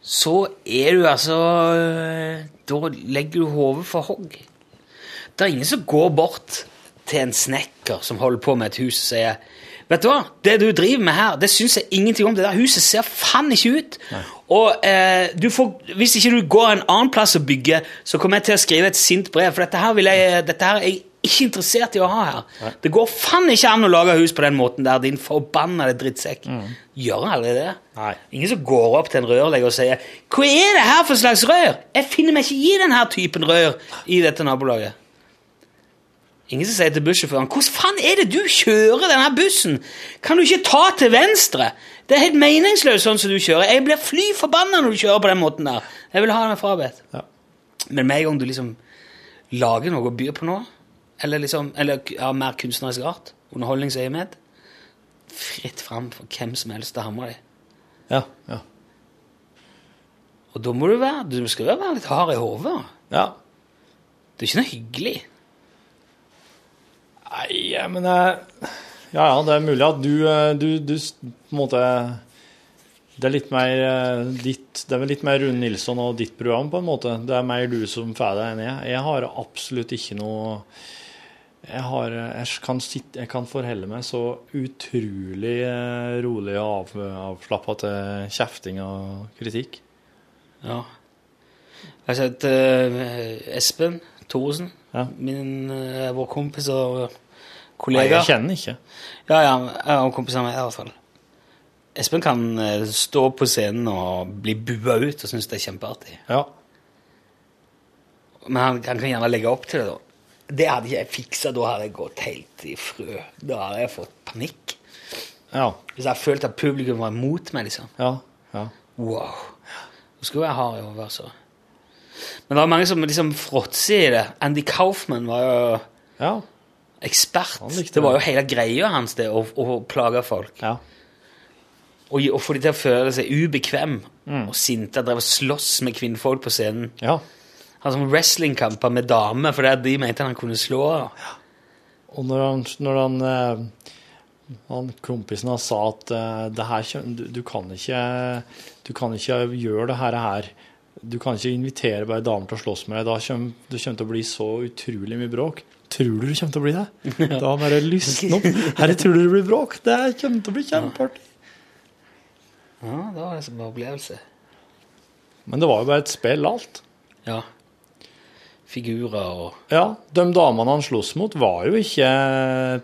S2: så er du altså øh, Da legger du hodet for hogg. Det er ingen som går bort til en snekker som holder på med et hus og sier Vet du hva, det du driver med her, det syns jeg ingenting om. Det der huset ser faen ikke ut. Og eh, du får, hvis ikke du går en annen plass og bygger, så kommer jeg til å skrive et sint brev, for dette her, vil jeg, dette her er jeg ikke interessert i å ha her. Det går faen ikke an å lage hus på den måten der, din forbannede drittsekk. Gjør han aldri det?
S1: Nei.
S2: Ingen som går opp til en rørlegger og sier 'Hva er det her for slags rør?' 'Jeg finner meg ikke i denne typen rør i dette nabolaget'. Ingen som sier til bussjåføren 'Hvordan faen er det du kjører denne bussen?' 'Kan du ikke ta til venstre?' 'Det er helt meningsløst sånn som du kjører.' 'Jeg blir fly forbanna når du kjører på den måten der.' Jeg vil ha den frabedt.
S1: Ja.
S2: Men med en gang du liksom lager noe og byr på noe, eller liksom, eller ja, mer kunstnerisk art, underholdningsøyemed, fritt fram for hvem som helst til å hamre deg.
S1: Ja. Ja.
S2: Og da må du være Du skal jo være litt hard i hodet.
S1: ja.
S2: Det er ikke noe hyggelig.
S1: Nei, ja, men jeg Ja, ja, det er mulig at du, eh, du, du s- på en måte Det er litt mer eh, ditt Det er vel litt mer Rune Nilsson og ditt program, på en måte. Det er mer du som får det enn jeg. Jeg har absolutt ikke noe jeg, har, eh, jeg, kan sitte, jeg kan forholde meg så utrolig eh, rolig og av, avslappa til kjefting og kritikk.
S2: Ja. Jeg har sett eh, Espen Thoresen,
S1: Ja.
S2: min, eh, vår kompis og
S1: Nei,
S2: kollega.
S1: jeg kjenner ikke.
S2: Ja, ja, ja, og kompisene mine i hvert fall. Espen kan eh, stå på scenen og bli bua ut og synes det er kjempeartig.
S1: Ja.
S2: Men han, han kan gjerne legge opp til det, da. Det hadde ikke jeg fiksa. Da hadde jeg gått helt i frø. Da hadde jeg fått panikk.
S1: Ja.
S2: Hvis jeg følte at publikum var imot meg, liksom.
S1: Ja. ja.
S2: Wow. Nå skulle jeg hard i hodet, altså. Men det var mange som liksom fråtser i det. Andy Kaufman var jo
S1: ja.
S2: ekspert.
S1: Han likte
S2: Det var jo
S1: det.
S2: hele greia hans, det, å, å plage folk.
S1: ja.
S2: Og, gi- og få de til å føle seg ubekvem
S1: Mm.
S2: og sinte. Drev og sloss med kvinnfolk på scenen.
S1: ja.
S2: Han som wrestlingkamper med damer fordi at de mente han kunne slå.
S1: Og når han, når han, eh, han kompisen hans sa at eh, det her, kjø- du, du, kan ikke, du kan ikke gjøre det her, her. Du kan ikke invitere bare damer til å slåss med deg. Da kommer du kommer til å bli så utrolig mye bråk. Tror du du kommer til å bli det? [laughs] Da bare lysne opp. Herre, tror du det blir bråk? Det her kommer til å bli kjempeartig.
S2: Ja, det var liksom en opplevelse.
S1: Men det var jo bare et spill, alt.
S2: Ja. Figurer og
S1: Ja, De damene han sloss mot, var jo ikke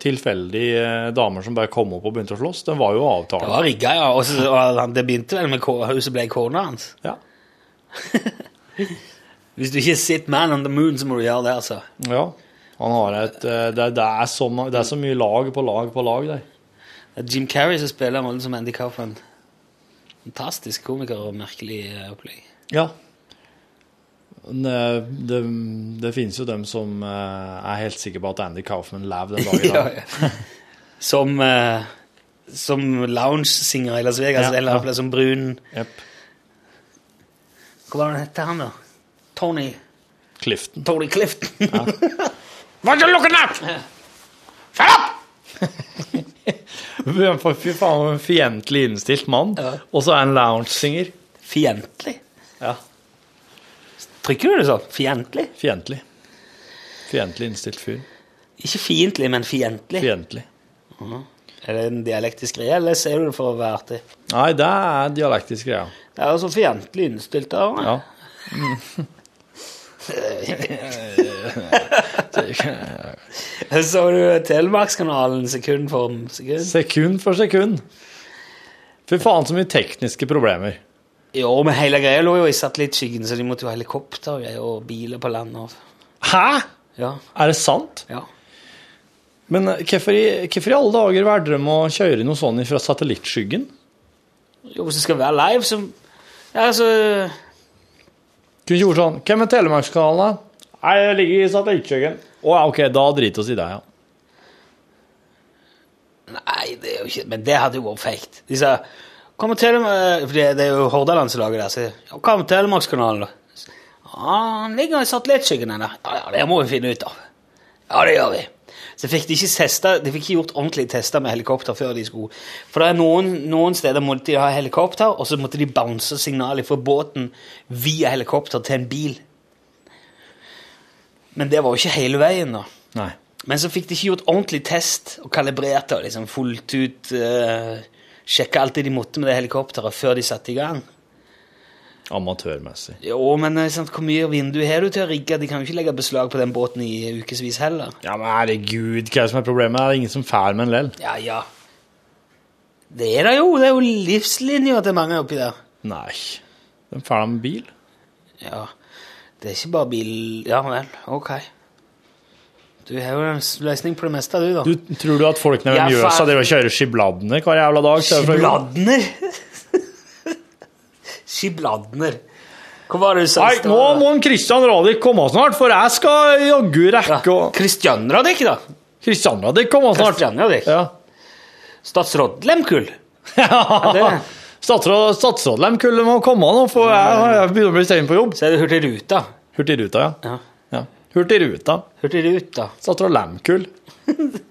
S1: tilfeldige eh, damer som bare kom opp og begynte å slåss. De var jo
S2: Det
S1: avtalt.
S2: var rigga, ja. Og så, og han- det begynte vel med ko- huset ble kona hans.
S1: Ja.
S2: Hvis du ikke sitter Man on the Moon, så må du gjøre det, altså.
S1: Ja. Han har et eh, Det, det, er, så, ma- det er så mye lag på lag på lag der.
S2: Det er Jim Carrey som spiller rollen som Andy Coffin. Fantastisk komiker og merkelig eh,
S1: [laughs]
S2: opplegg.
S1: Ja. Det, eh, det, det finnes jo dem som eh, er helt sikre på at Andy Kaufman lever den [laughs] dagen.
S2: Ja, ja. Som, eh, som loungesinger i Las Vegas,
S1: Ja,
S2: eller
S1: ja.
S2: opplegg som brun
S1: Jep.
S2: Hva var det han het han, da? Tony
S1: Clifton.
S2: Tony Clifton. [laughs] What you looking at? Shut up!
S1: For Fy faen, for en fiendtlig innstilt mann.
S2: Ja.
S1: Og så er han loungesinger.
S2: Fiendtlig.
S1: Ja.
S2: Trykker du det sånn? Fiendtlig?
S1: Fiendtlig. Fiendtlig innstilt fyr.
S2: Ikke fiendtlig, men fiendtlig.
S1: Fiendtlig.
S2: Er det en dialektisk greie, eller ser du det for å være artig?
S1: Nei, det er dialektisk greia.
S2: Det er jo så fiendtlig innstilt av meg.
S1: Ja.
S2: Så du Telemarkskanalen sekund for sekund?
S1: Sekund for sekund. Fy faen, så mye tekniske problemer.
S2: Jo, men hele greia lå jo i satellittskyggen, så de måtte jo ha helikopter og greier, og biler på land og
S1: Hæ?!
S2: Ja.
S1: Er det sant?
S2: ja.
S1: Men eh, hvorfor i, hvorfor i alle dager valgte de å kjøre noe sånt fra satellittskyggen?
S2: Jo, hvis det skal være live, så Ja, altså
S1: Kunne ikke gjort sånn. Hvem er Telemarkskanalen, da? Nei, det ligger i satellittskyggen. Å ja, ok, da driter oss i det, ja.
S2: Nei, det er jo ikke Men det hadde jo vært fake. De sa Kom og Telemark For det, det er jo Hordalandslaget der, så ja, Hva med Telemarkskanalen, da? Ja, han ligger i satellittskyggen, den der. Ja, ja, det må vi finne ut av. Ja, det gjør vi. Så fikk de ikke testa, de fikk ikke gjort ordentlige tester med helikopter før de skulle For det er noen, noen steder måtte de ha helikopter, og så måtte de bounce signalet fra båten via helikopter til en bil. Men det var jo ikke hele veien, da.
S1: Nei.
S2: Men så fikk de ikke gjort ordentlig test og kalibrert og liksom fullt ut uh, Sjekka alt det de måtte med det helikopteret før de satte i gang.
S1: Amatørmessig.
S2: Jo, men eh, sant, hvor mye vindu har du til å rigge? De kan jo ikke legge beslag på den båten i ukevis heller.
S1: Ja, men herregud, hva er det som er problemet? Det er ingen som fær med en lell.
S2: Ja, ja. Det er det jo. Det er jo livslinja til mange oppi der.
S1: Nei. De fær med bil.
S2: Ja. Det er ikke bare bil Ja vel, ok. Du har jo en s- løsning på det meste, du, da.
S1: Du, tror du at folk nede
S2: Ja,
S1: ved Mjøsa
S2: faen.
S1: driver og kjører skibladene hver jævla dag? til-
S2: Skibladner! [laughs] Skibladner. Hvor var det du sa?
S1: Nei, nå må han Christian Radich komme snart, for jeg skal jaggu rekke å
S2: Kristian Radek, da.
S1: Christian Radich komme snart.
S2: Christian Radek.
S1: Ja.
S2: Statsråd Lemkull.
S1: Ja,
S2: det-
S1: Statsråd, statsrådlemkullet må komme nå, for jeg, jeg begynner å bli sein på jobb.
S2: Så er det Hurtigruta.
S1: Hurtigruta, ja.
S2: Ja.
S1: ja. Hurtigruta.
S2: Hurtigruta.
S1: Statsråd
S2: [laughs]
S1: Lemkull.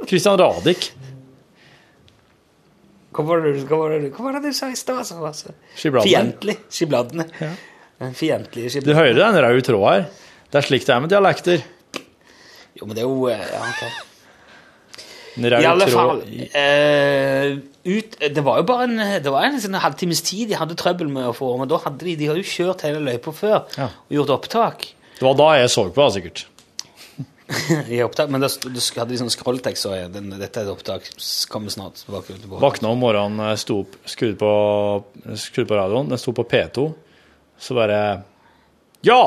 S1: Christian Radich.
S2: Hva var det, du- hva var det, du- hva var det du sa i stad? som var så-
S1: Skibladner.
S2: Fiendtlig. Skibladene. Den fiendtlige
S1: Du
S2: skibladene.
S1: hører den røde tråden her? Det er slik det er med dialekter.
S2: Jo, men det er jo eh, Ja, ok.
S1: En
S2: I alle
S1: rød
S2: fall
S1: tråd i-
S2: eh, ut, Det var jo bare en, det var en sånn halvtimes tid de hadde trøbbel med å få Men da hadde de De hadde jo kjørt hele løypa før
S1: Ja.
S2: og gjort opptak.
S1: Det var da jeg så på, da, sikkert.
S2: I opptak men da sto- da hadde de sånn scrolltekst så jeg, den, Dette er et opptak. s- Kommer snart tilbake. ut på-
S1: Våkna om morgenen, eh, sto opp, skrudde på, skrudde på radioen, den sto på P2. Så bare Ja!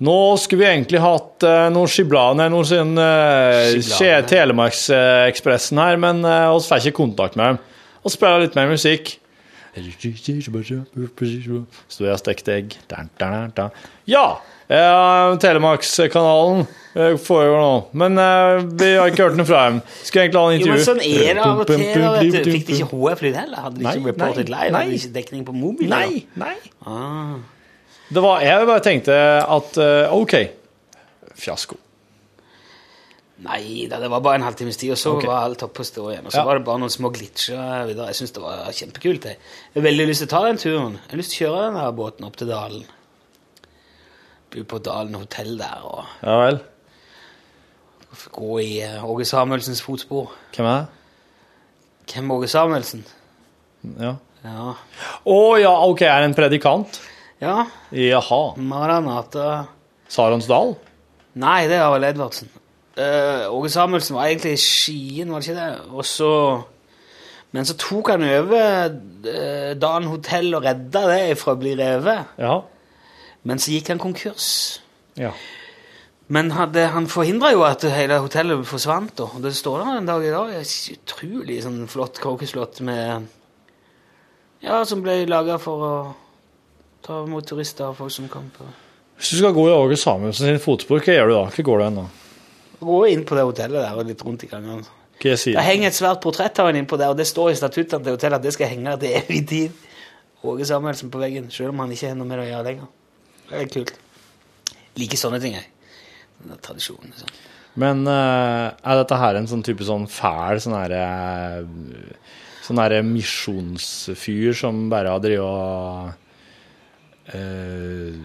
S1: Nå skulle vi egentlig hatt uh, noen skiblader, noen sånn eh,
S2: Skiblader.
S1: skje- Telemarksekspressen her, men eh, oss fikk ikke kontakt med dem. Og spilla litt mer musikk. Sto jeg og stekte egg. Dun, dun, dun, dun. Ja! eh, Telemarkskanalen eh, får jo nå Men eh, vi har ikke hørt noe fra dem. Skulle egentlig ha en
S2: Jo, men
S1: intervju.
S2: sånn er det av og til. da, vet du. Fikk de ikke HF-lyd heller? Hadde de
S1: Nei,
S2: ikke reportet
S1: nei,
S2: live? Hadde
S1: nei.
S2: de ikke dekning på mobil?
S1: Nei, nei.
S2: da? Ah.
S1: Det var, jeg bare tenkte at eh, OK, fiasko.
S2: Nei da, det var bare en halvtimes tid, og så
S1: Ok.
S2: var alt oppe og stå igjen. Og
S1: Ja.
S2: så var det bare noen små glitcher videre. Jeg syns det var kjempekult. Jeg Jeg har veldig lyst til å ta den turen. Jeg har lyst til å kjøre den der båten opp til Dalen. Bo på Dalen hotell der og
S1: Ja vel.
S2: gå i eh, Åge Samuelsens fotspor.
S1: Hvem er det?
S2: Hvem er Åge Samuelsen?
S1: Ja.
S2: Ja.
S1: Å ja, ok, er det en predikant?
S2: ja
S1: Jaha.
S2: Maranata
S1: Saronsdal?
S2: Nei, det var vel Edvardsen. Eh, Åge Samuelsen var egentlig i Skien, var det ikke det? Og så Men så tok han over uh, Dalen hotell og redda det fra å bli revet.
S1: Ja.
S2: Men så gikk han konkurs.
S1: ja.
S2: Men hadde, han forhindra jo at hele hotellet forsvant, da. og det står der en dag i dag. Et utrolig sånn flott kråkeslott med Ja, som ble laga for å ta imot turister og folk som kom på
S1: Hvis du skal gå i Åge Samuelsen sin fotspor, hva gjør du da? Hvor går du hen da?
S2: Gå inn på det hotellet der og litt rundt i gangen.
S1: Hva jeg sier
S2: Det henger et svært portrett av han innpå der, og det står i statuttene til hotellet at det skal henge til evig tid. Åge Samuelsen på veggen, selv om han ikke har noe med det å gjøre lenger. Det er kult. Liker sånne ting, jeg. Den der tradisjonen. Sånn.
S1: Men eh, er dette her en sånn type sånn fæl sånn herre Sånn herre misjonsfyr som bare har drevet og eh,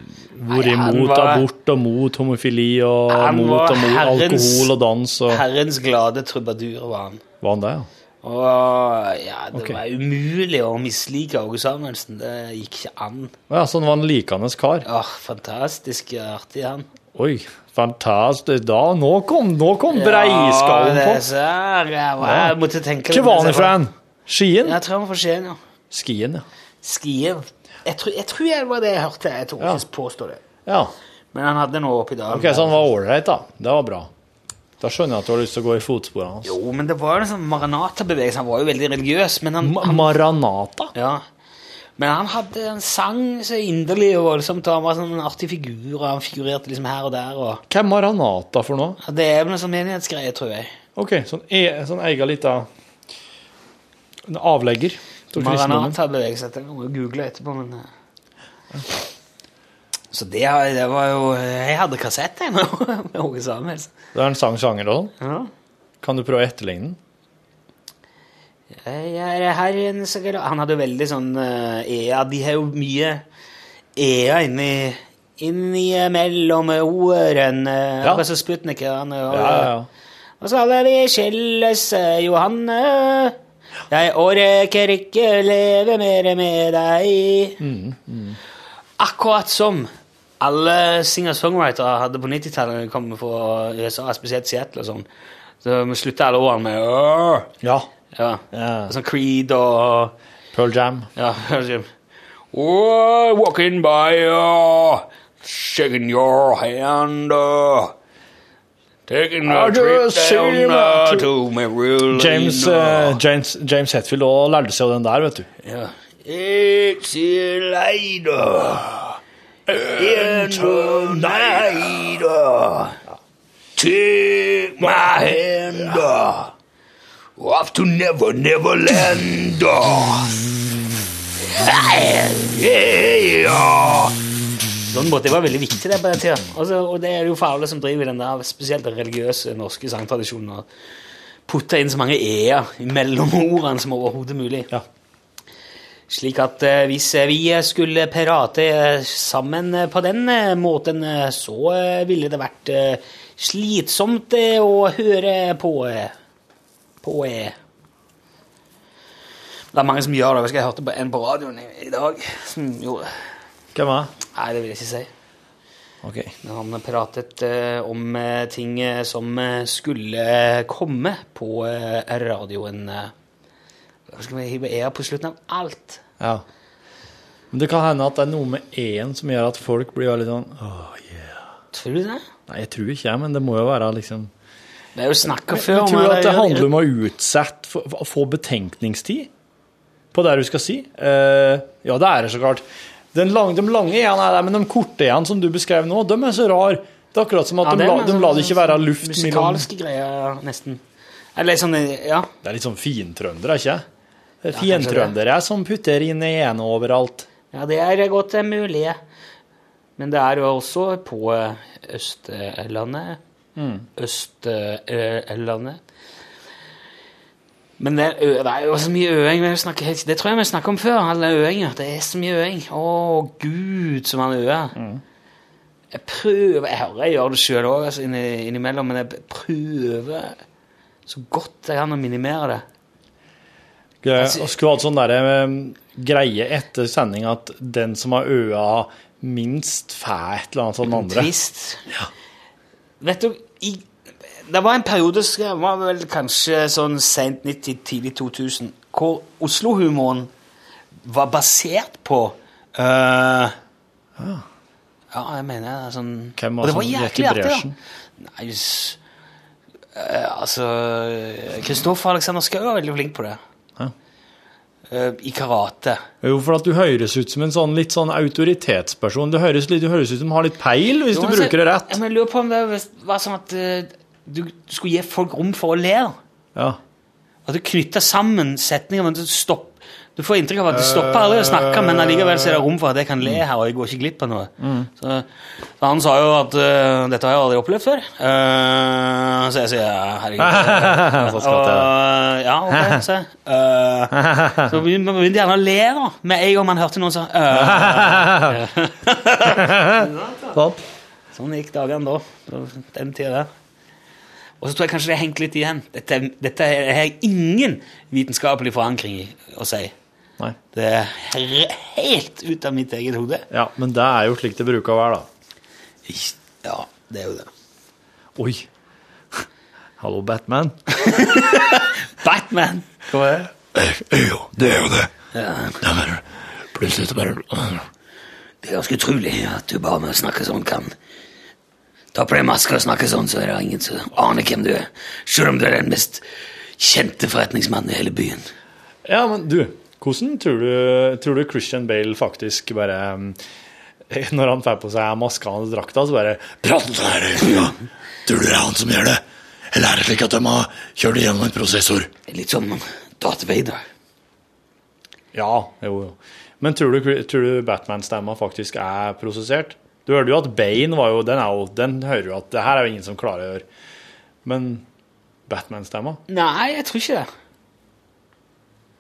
S1: Vært
S2: Nei, han
S1: imot
S2: var-
S1: abort og mot homofili og
S2: Han var
S1: mot og mot
S2: herrens-
S1: alkohol og dans og
S2: Herrens glade trubadur var han.
S1: Var han det, ja?
S2: Og ja, det
S1: Ok.
S2: var umulig å mislike Åge Samuelsen. Det gikk ikke an.
S1: Ja, så han var en likende kar.
S2: Åh, fantastisk artig, han.
S1: Oi, fantastisk. Da, nå kom, nå kom breiskallen
S2: Ja, det
S1: på.
S2: ser jeg. Jeg var-
S1: Ja.
S2: Jeg måtte tenke
S1: Hvor var han
S2: mens jeg
S1: ifra? hen? Skien?
S2: Jeg tror han var fra Skien, ja.
S1: Skien, ja.
S2: Skien. Jeg tror, jeg tror det var det jeg hørte. Jeg tror
S1: Ja.
S2: ikke jeg påstår det.
S1: ja.
S2: Men han hadde noe oppi dalen.
S1: Ok, sånn. så han var ålreit, da. Det var bra. Da skjønner jeg at du har lyst til å gå i fotsporene hans.
S2: Jo, men det var jo en sånn Maranata-bevegelse. Han var jo veldig religiøs, men han,
S1: Ma-
S2: han
S1: Maranata?
S2: ja. Men han hadde en sang så inderlig og voldsomt, og han var sånn en artig figur, og han figurerte liksom her og der, og
S1: Hva er Maranata for noe?
S2: ja, Det er vel en sånn menighetsgreie, tror jeg.
S1: Ok, sånn, e, sånn egen lita En avlegger til kristendommen.
S2: Maranata-bevegelse. Det kan vi google etterpå, men eh. Så det, har- det var jo Jeg hadde kassett, jeg, [laughs] med med Åge Samuelsen.
S1: Det er en sang sjanger og sånn.
S2: Ja.
S1: Kan du prøve å etterligne den?
S2: Jeg er herren så glad Han hadde veldig sånn eh, EA. De har jo mye EA inni Inni eh, mellom ordene.
S1: Ja.
S2: Akkurat som Sputnik. Han, og,
S1: Ja, ja, ja.
S2: og så alle vi skilles, eh, Johanne. Jeg orker ikke leve mer med deg.
S1: Mm,
S2: Akkurat som alle singer-songwritere hadde på 90-tallet, kom fra USA, spesielt Seattle og sånn. Så slutta alle ordene med Åh!
S1: ja.
S2: Ja.
S1: Ja.
S2: Sånn Creed og
S1: Pearl Jam.
S2: Ja, liksom oh, Walking by uh, Shaking your hand uh, Taking
S1: I
S2: a trip
S1: just see
S2: down
S1: my
S2: uh,
S1: trip.
S2: to Marilyn
S1: James, eh, James, James Hetfield òg lærte seg jo den der, vet du.
S2: ja. It's a later In the night uh, Take my hand uh, Off to never, never land uh. Sånn måte, Det var veldig viktig det på den tida. Altså, og det er jo for alle som driver i den der spesielt den religiøse norske sangtradisjonen. å Putte inn så mange e-er mellom ordene som overhodet mulig.
S1: Ja.
S2: Slik at eh, hvis vi skulle prate eh, sammen eh, på den eh, måten, eh, så eh, ville det vært eh, slitsomt eh, å høre på eh, På eh. Det er mange som gjør det. Jeg husker jeg hørte på en på radioen i, i dag som gjorde
S1: Hvem er det?
S2: Nei, det vil jeg ikke si.
S1: Ok.
S2: Men han pratet eh, om eh, ting eh, som eh, skulle komme på eh, radioen. eh. Hva skal vi hive er på slutten av alt?
S1: Ja. Men det kan hende at det er noe med én som gjør at folk blir veldig sånn Åh, yeah.
S2: Tror du det?
S1: Nei, jeg tror ikke jeg, men det må jo være liksom
S2: Det er jo snakka før.
S1: Jeg
S2: om
S1: tror at det
S2: eller-
S1: handler om å utsette, få- få- få betenkningstid på det du skal si. Eh, ja, det er det så klart. Den lang, de lange igjen er der, men de korte igjen som du beskrev nå, de er så rar. Det er akkurat som at
S2: Ja,
S1: de,
S2: er
S1: la,
S2: mer
S1: de
S2: sånn
S1: la det ikke være luft mellom
S2: Musikalske greier, nesten. Eller sånn, ja.
S1: Det er litt sånn fintrønder, er ikke det?
S2: kanskje
S1: Fintrønder er som putter inn i ene overalt.
S2: Ja, det er godt eh, mulig. Men det er jo også på eh, Østlandet Østlandet. Men det, er ø- det er jo så mye øing. vi snakker helt- Det tror jeg vi snakket om før. alle øinger. Det er så mye øing. Å, gud, som han øer. Jeg prøver Jeg hører jeg gjør det sjøl òg altså, inni- innimellom, men jeg prøver så godt jeg kan å minimere det.
S1: Jeg
S2: Altså-
S1: skulle hatt sånn der, eh, greie etter sending at den som har øa minst, får et eller annet sånn andre.
S2: Trist. Vet du, i, det var en periode, så jeg var vel kanskje sånn sent 90, tidlig 2000, hvor Oslo-humoren var basert på eh, Ja, jeg mener det er sånn
S1: Ah. Hvem var
S2: Og det
S1: som
S2: var
S1: gikk i
S2: jæklig artig,
S1: bresjen?
S2: da. Nei, s- eh, altså Kristoffer Alexander Schou var veldig flink på det.
S1: Ja.
S2: Eh, I karate.
S1: Jo, for at du høres ut som en sånn litt sånn autoritetsperson. Du høres, litt, du høres ut som du har litt peil, hvis du
S2: Jo, altså,
S1: bruker det rett.
S2: ja, Men jeg lurer på om det var sånn at eh, du skulle gi folk rom for å le. da.
S1: Ja.
S2: At du knytter sammen setninger, men du stopp- Du får inntrykk av at du stopper aldri å snakke, men allikevel så er det rom for at jeg kan le her, og jeg går ikke glipp av noe.
S1: Mm.
S2: Så, så han sa jo at eh, 'dette har jeg aldri opplevd før'. Eh, så jeg sier ja,
S1: [laughs]
S2: herregud.
S1: Så
S2: Og,
S1: skvatt jeg.
S2: ja,
S1: [laughs]
S2: ok, så, eh, så begynte man begynte gjerne å le da, med en gang man hørte
S1: [laughs]
S2: noen sånn
S1: Sant?
S2: Sånn gikk dagene da. på Den tida der. Og så tror jeg kanskje det er hengt litt igjen. Dette, dette har jeg ingen vitenskapelig forankring i å si.
S1: Nei.
S2: Det er re- helt ut av mitt eget hode.
S1: Ja, men det er jo slik det bruker å være, da.
S2: Ikk- Ja, det er jo det.
S1: Oi. [laughs] Hallo, Batman.
S2: Batman!
S1: Hva er det?
S3: Jo, det er jo det.
S2: Ja,
S3: Nei, men plutselig så bare
S2: det er ganske utrolig at du bare med å snakke sånn kan ta på deg maske og snakke sånn, så er det ingen som aner hvem du er. Selv om du er den mest kjente forretningsmannen i hele byen.
S1: Ja, men du, hvordan tror du, tror du Christian Bale faktisk bare eh, Når han får på seg maska og drakta, så bare
S3: Praten er det, ja. Tror du det er han som gjør det? Eller er det slik at de har kjørt igjennom en prosessor?
S2: Litt som Darth Vader.
S1: Ja, jo, jo. Men tror du, tror du Batman-stemma faktisk er prosessert? Du hørte jo at Bane var jo Den, er jo, den hører jo at det her er jo ingen som klarer å gjøre. Men Batman-stemma?
S2: Nei, jeg tror ikke det.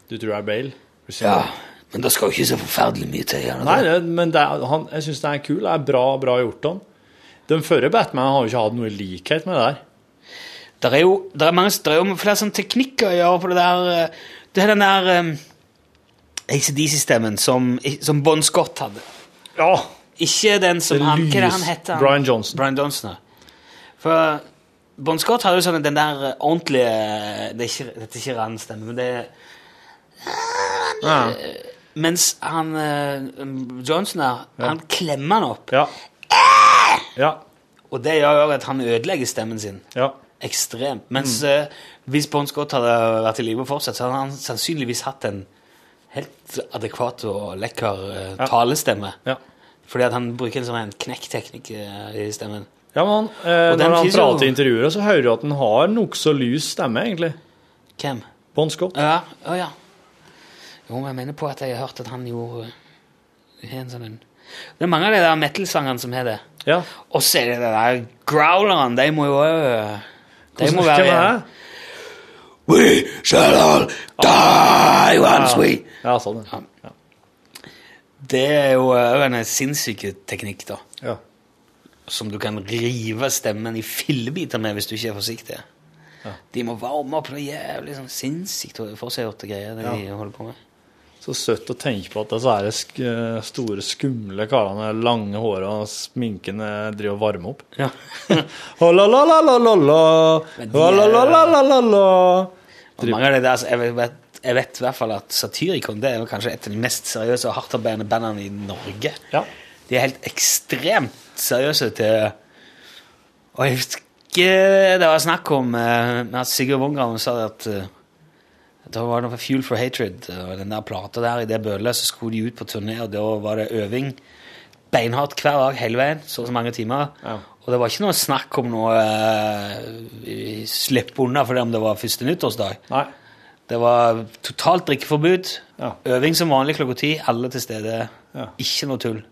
S1: Du tror det er Bale? Christian
S2: Ja,
S1: Bale.
S2: men det skal jo ikke så forferdelig mye til. Gjerne.
S1: Nei, det, men det er, han, jeg syns det er kul. Det er bra, bra gjort av han. Den forrige Batman har jo ikke hatt noe likhet med det der.
S2: Det er jo, der er mange, der er jo flere sånne teknikker å gjøre på det der eh, Det er den der eh, ACDC-stemmen som, som Bon Scott hadde.
S1: Ja!
S2: Ikke den som
S1: Det
S2: han, Hva er det han
S1: lys-
S2: heter? han?
S1: Brian Johnson.
S2: Brian Johnson, ja. For eh, Bon Scott har jo sånn den der eh, ordentlige eh, Det er ikke, det er ikke hans stemme, men det er
S1: Ja.
S2: Eh. Mens han eh, Johnson der, han klemmer han opp.
S1: Ja. ja.
S2: Og det gjør jo at han ødelegger stemmen sin.
S1: ja.
S2: Ekstremt. Mens
S1: Mm.
S2: eh, hvis Bon Scott hadde vært i live og fortsatt, så hadde han sannsynligvis hatt en helt adekvat og lekker eh,
S1: Ja.
S2: talestemme.
S1: Ja.
S2: Fordi at han bruker en sånn en knekkteknikk eh, i stemmen.
S1: Ja, men han, eh,
S2: Og den
S1: Når han
S2: finnes jo-
S1: prater i intervjuer, så hører du at han har nokså lys stemme, egentlig.
S2: Hvem?
S1: Bon Scott.
S2: Ja, å ja. Jo, men jeg mener på at jeg har hørt at han gjorde eh, en sånn en Det er mange av de der metal-sangene som har det.
S1: Ja.
S2: Og så er det de der growlerne, de må jo òg De
S1: Hvordan
S2: må
S1: hvem
S2: være
S1: er
S2: igjen.
S1: det?
S3: We shall all die
S1: Ah.
S3: once we
S1: Ja, sånn. ja.
S2: Det er jo òg en eh, sinnssyk teknikk, da.
S1: Ja.
S2: som du kan rive stemmen i fillebiter med hvis du ikke er forsiktig. De må varme opp noe jævlig sånn sinnssykt forseggjorte greier. Det de holder på med.
S1: Så søtt å tenke på at disse her sk eh, store, skumle karene, lange håret og sminken eh, driver og varmer opp. Ho-la-la-la-la-la-la.
S2: Men de er-
S1: Ho-la-la-la-la-la-la.
S2: [laughs] Og mange av de der, altså, jeg, vet, jeg vet i hvert fall at Satyricon det er jo kanskje et av de mest seriøse og hardtarbeidende bandene i Norge.
S1: Ja.
S2: De er helt ekstremt seriøse til Og jeg husker det var snakk om eh, at Sigurd Wongram sa at eh, da var det noe Fuel for Hatred eh, og den der plata der i det bølet, så skulle de ut på turné, og da var det øving beinhardt hver dag hele veien, så og så mange timer.
S1: Ja.
S2: Og det var ikke noe snakk om noe eh, slipp unna for det om det var første nyttårsdag.
S1: Nei.
S2: Det var totalt drikkeforbud.
S1: Ja.
S2: Øving som vanlig klokka ti. Alle til stede.
S1: Ja.
S2: Ikke noe tull.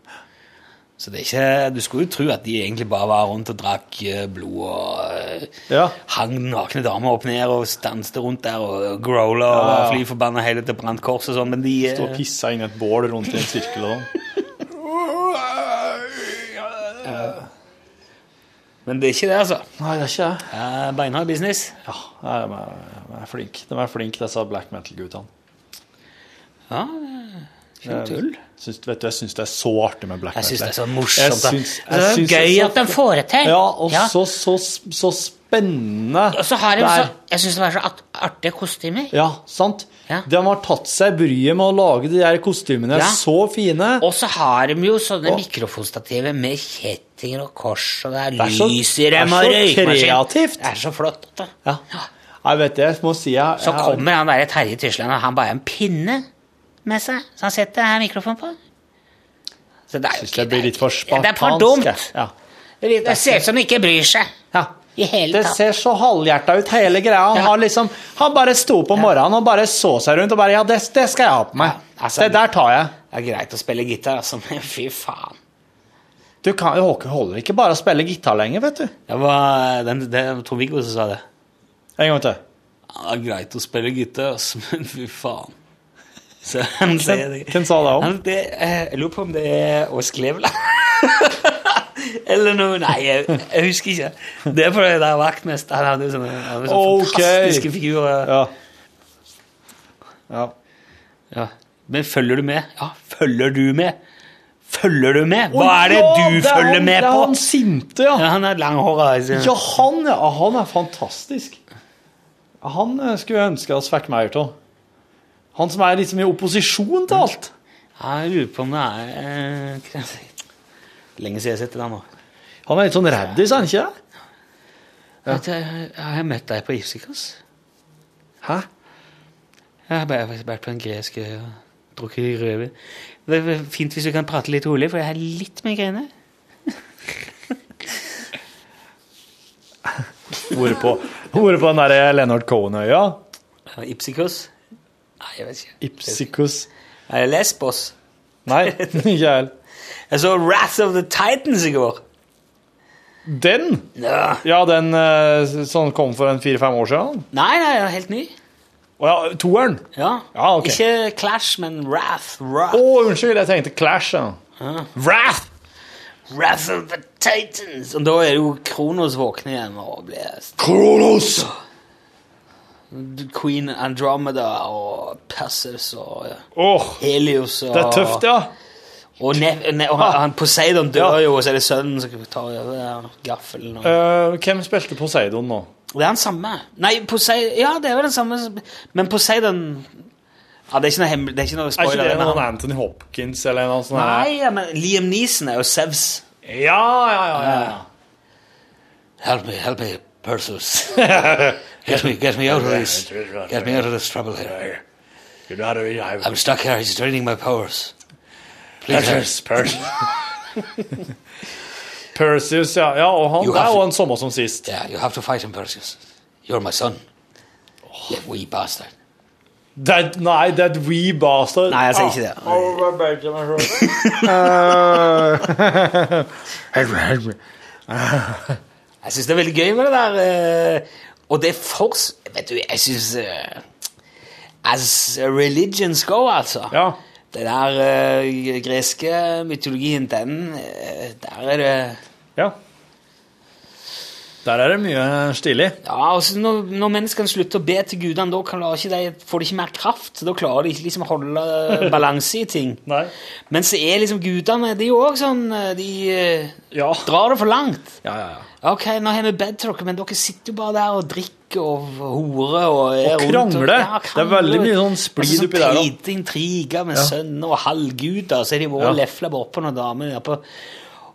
S2: Så det er ikke, du skulle jo tro at de egentlig bare var rundt og drakk eh, blod og eh,
S1: Ja.
S2: hang nakne damer opp ned og stanste rundt der og growla
S1: Ja,
S2: og
S1: ja.
S2: var fly forbanna hele til brant kors og sånn, men de eh,
S1: Stå og pisse inn i et bål rundt i en sirkel og sånn.
S2: Men det er ikke det, altså.
S1: Nei, det er ikke jeg.
S2: Eh, Beinhard business.
S1: Ja, nei, de er, de er flinke, de er flink, disse black metal-guttene.
S2: Ja, eh, ikke noe tull.
S1: Syns, vet du, jeg syns det er så artig med black
S2: Jeg
S1: metal.
S2: syns det er så morsomt. da.
S1: Jeg syns- jeg
S2: det er
S1: syns
S2: gøy
S1: det er så-
S2: at de får det til.
S1: Ja, og Så, så, så spennende.
S4: Og så har de
S1: det
S4: så,
S1: er.
S4: jeg syns det var så at- artige kostymer.
S1: Ja, sant?
S4: Ja.
S1: De har tatt seg bryet med å lage de der kostymene
S4: Ja.
S1: så fine.
S4: Og så har de jo sånne
S1: Og-
S4: mikrofonstativer med kjettinger og kors, og det er,
S1: er så-
S4: lys i
S1: det er
S4: dem, og
S1: så
S4: røykmaskin.
S1: kreativt.
S4: Det er så flott. vet du.
S1: Ja. Jeg vet det, jeg må si jeg,
S4: Så
S1: jeg har-
S4: kommer han derre Terje Tysland, og han bare har en pinne med seg, så han setter her mikrofonen på. Så det er jo
S1: Syns
S4: ikke
S1: det blir litt for spartansk.
S4: Det er for dumt.
S1: jeg. Ja.
S4: Det ser ut som de ikke bryr seg
S1: Ja.
S4: i hele
S1: Det
S4: tatt.
S1: ser så halvhjerta ut, hele greia. Han,
S4: Ja.
S1: har liksom, han bare sto opp om morgenen og bare så seg rundt og bare Ja, det, det skal jeg ha på meg.
S2: Ja, altså-
S1: det der tar jeg.
S2: Det er greit å spille gitar, altså, men fy faen.
S1: Du kan, Håke holder ikke bare å spille gitar lenger, vet du.
S2: Det var den, det var Trond-Viggo som sa det.
S1: En gang til.
S2: Ja, det er greit å spille gitar, altså, [laughs] men fy faen. Så han sier det.
S1: Hvem sa det om?
S2: Han, det, eh, jeg lurer på om det er Ås Kleveland. [laughs] Eller noe Nei, jeg, jeg husker ikke. Det er fordi det der vaktmester Han hadde jo sånne, han hadde sånne
S1: Ok.
S2: fantastiske figurer.
S1: Ja. ja.
S2: Ja. Men følger du med? Ja, følger du med? Følger du med? Hva
S1: Å,
S2: er det
S1: ja,
S2: du
S1: er
S2: følger
S1: han-
S2: med
S1: Det er
S2: på?
S1: han sinte, ja.
S2: Ja, han er altså. langhåra.
S1: Ja, han, ja. Han er fantastisk. Han eh, skulle jeg ønske oss fikk mer av. Han som er liksom i opposisjon til alt.
S2: Jeg lurer på om det er eh, hva skal jeg si? Lenge siden jeg har sett det der nå.
S1: Han er litt sånn raddis, er han ikke det?
S2: Vet du, jeg, har jeg møtt deg på Ipsikos?
S1: Hæ?
S2: Jeg har bare vært på en gresk øy og drukket rødvin. Det er fint hvis du kan prate litt rolig, for jeg har litt migrene.
S1: Hvor på, hvor på den der eh, Leonard Cohen-øya?
S2: Ipsikos? Nei, jeg vet ikke.
S1: Ipsikos
S2: Er det Lesbos?
S1: Nei, [laughs] ikke jeg heller.
S2: Jeg så Wrath of the Titans i går.
S1: Den?
S2: Ja.
S1: Ja, den eh, som kom for en fire-fem år siden?
S2: Nei, nei, den er helt ny.
S1: Å ja, toeren.
S2: Ja.
S1: Ja, ok.
S2: Ikke Clash, men Wrath. Wrath.
S1: Å, unnskyld, jeg tenkte Clash. Ja.
S2: Wrath! Wrath of the Titans. Og da er jo Kronos våkne igjen og blir
S3: Kronos!
S2: Queen Andromeda og Perseus og
S1: Åh,
S2: Helios og
S1: det er tøft, ja.
S2: Og, ne ne og han, han Poseidon dør
S1: Ah. Ja.
S2: jo, og så er det er sønnen som tar over der, gaffelen. Og.
S1: Eh, hvem spilte Poseidon nå?
S2: Det er han samme. Nei, Poseidon Ja, det er vel den samme, som- men Poseidon ja, Det er ikke noe, hemmel- det er ikke noe
S1: Er
S2: spoiler.
S1: ikke det
S2: men
S1: noen
S2: han-
S1: Anthony Hopkins eller noe sånt? her?
S2: Nei, ja, men Liam Neeson er jo Sevs.
S1: Ja, ja, ja. ja, ja.
S2: Help me, help me, [laughs] Perseus. get, me, get me out of this. Get me out of this trouble here. I'm stuck here. He's draining my powers. Please, help.
S1: Perseus, ja. ja og han
S2: You
S1: det er
S2: have-
S1: jo han samme som sist.
S2: yeah, you have to fight him, Perseus. You're my son. You wee bastard.
S1: That, nei, that wee bastard.
S2: Nei, jeg sier ikke
S1: Ah.
S2: det.
S1: Oh.
S2: Jeg syns det er veldig gøy med det der. eh, Og det er for Vet du, jeg syns As religions go, altså.
S1: Ja.
S2: Det der eh, greske mytologien, den eh, Der er det
S1: ja. Der er det mye stilig.
S2: Ja, altså når, når menneskene slutter å be til gudene, da klarer ikke de, får de ikke mer kraft. Da klarer de ikke liksom å holde balanse i ting.
S1: Nei.
S2: Men så er liksom gudene De er jo òg sånn eh, De eh,
S1: Ja.
S2: drar det for langt.
S1: Ja, ja, ja.
S2: Ok, nå har vi bedt til dere, men dere sitter jo bare der og drikker og horer og er
S1: Og
S2: rundt
S1: krangler. Det er veldig mye sånn splid
S2: Altså,
S1: oppi der, da.
S2: Sånn teite intriger med sønner og halvguder, så er de bare og
S1: Ja.
S2: lefler bare oppå noen damer der på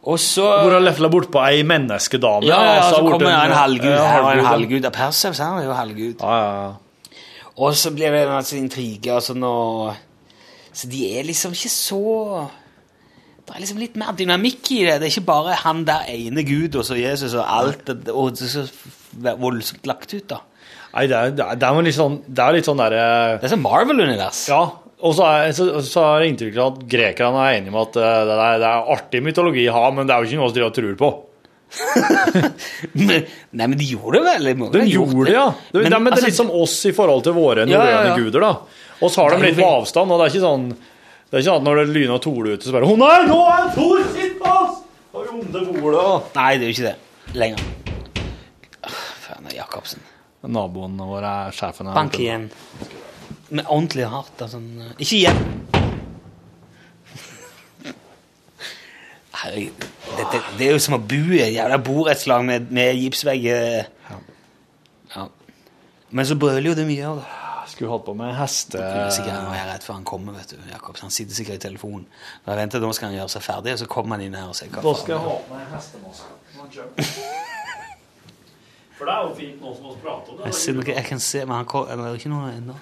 S2: Og så
S1: Hvor han lefla bortpå ei menneskedame.
S2: ja, ja,
S1: og
S2: så
S1: borte
S2: kommer det en halvgud
S1: ja,
S2: her og en
S1: ja.
S2: halvgud der. Perseus han er jo halvgud.
S1: Ja, ja, ja.
S2: Og så blir det altså masse intriger og sånn, og Så de er liksom ikke så Det er liksom litt mer dynamikk i det. Det er ikke bare han der ene Gud og så Jesus og alt det, og det er så voldsomt lagt ut, da.
S1: Nei, det er, det er, det er jo litt sånn, det er litt sånn derre
S2: Det er sånn Marvel-univers.
S1: Ja, Og så er, så, så er det inntrykk av at grekerne er enige om at eh, det er, det er artig mytologi å ha, men det er jo ikke noe vi driver og tror på.
S2: [laughs] Nei, men de gjorde det vel? De må jo
S1: Den
S2: ha gjort
S1: gjorde det, ja. Det,
S2: Men,
S1: det, men det er
S2: altså-
S1: litt som oss i forhold til våre
S2: Ja,
S1: norrøne
S2: ja, ja.
S1: guder, da. Oss har de
S2: Det er
S1: litt
S2: jo
S1: på
S2: veldig-
S1: avstand, og det er ikke sånn Det er ikke sånn at når det lyner og toler ute, så bare Å nei, nå er Thor sitt på oss! Og vi onde bordet og
S2: Nei, det er jo ikke det. Lenger. Åh, Faen, det er Jacobsen.
S1: Naboene våre er sjefene.
S2: Bank igjen. Med ordentlig hardt. Altså. Ikke igjen! Herregud. Dette, det er jo som å bo i et jævla borettslag med, med gipsvegg. eh. Ja. Men så brøler jo det mye av det.
S1: Skulle hatt på med
S2: Jeg er
S1: heste...
S2: sikkert- Nå er jeg redd for han kommer, vet du. Jacobsen. Han sitter sikkert i telefonen. Og jeg venter, Da skal han gjøre seg ferdig, og så kommer han inn her og ser hva
S1: Da
S2: faen
S1: skal jeg ha på meg hestemaske.
S2: [laughs]
S1: For det er jo fint nå som vi prater om
S2: Jeg, ser noe, jeg kan se, men han kom, eller, det er ikke noe ennå.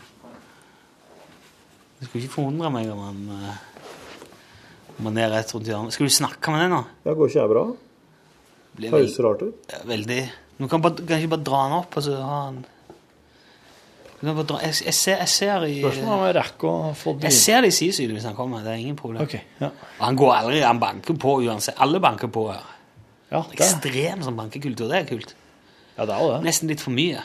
S2: Det skulle ikke forundre meg om han, eh, om han er rett rundt hjørnet. Skal du snakke med den nå?
S1: Ja, går ikke jeg bra?
S2: Blir vel-
S1: Høres rart ut.
S2: ja, veldig... Du kan, bare, kan ikke bare dra han opp, og så ha han... Du kan bare dra... Jeg, jeg, ser, jeg ser i...
S1: Spørsmålet er om jeg rekker å få
S2: Jeg ser det i sidesynet hvis han kommer, det er ingen problem.
S1: Ok, ja.
S2: Og han går aldri, han banker på uansett. Alle banker på her.
S1: Ja, det,
S2: Ekstrem sånn bankekultur, det er kult.
S1: ja, det er jo det.
S2: Nesten litt for mye.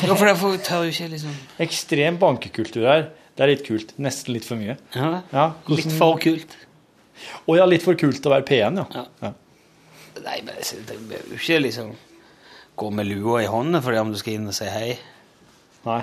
S2: Ja, for derfor tør jo ikke liksom
S1: Ekstrem bankekultur her. Det er litt kult. Nesten litt for mye.
S2: ja,
S1: Ja, hvordan-
S2: Litt for kult.
S1: Å ja, litt for kult til å være P1, ja.
S2: Ja. Nei, men det det behøver jo ikke liksom gå med lua i hånda fordi om du skal inn og si hei.
S1: Nei.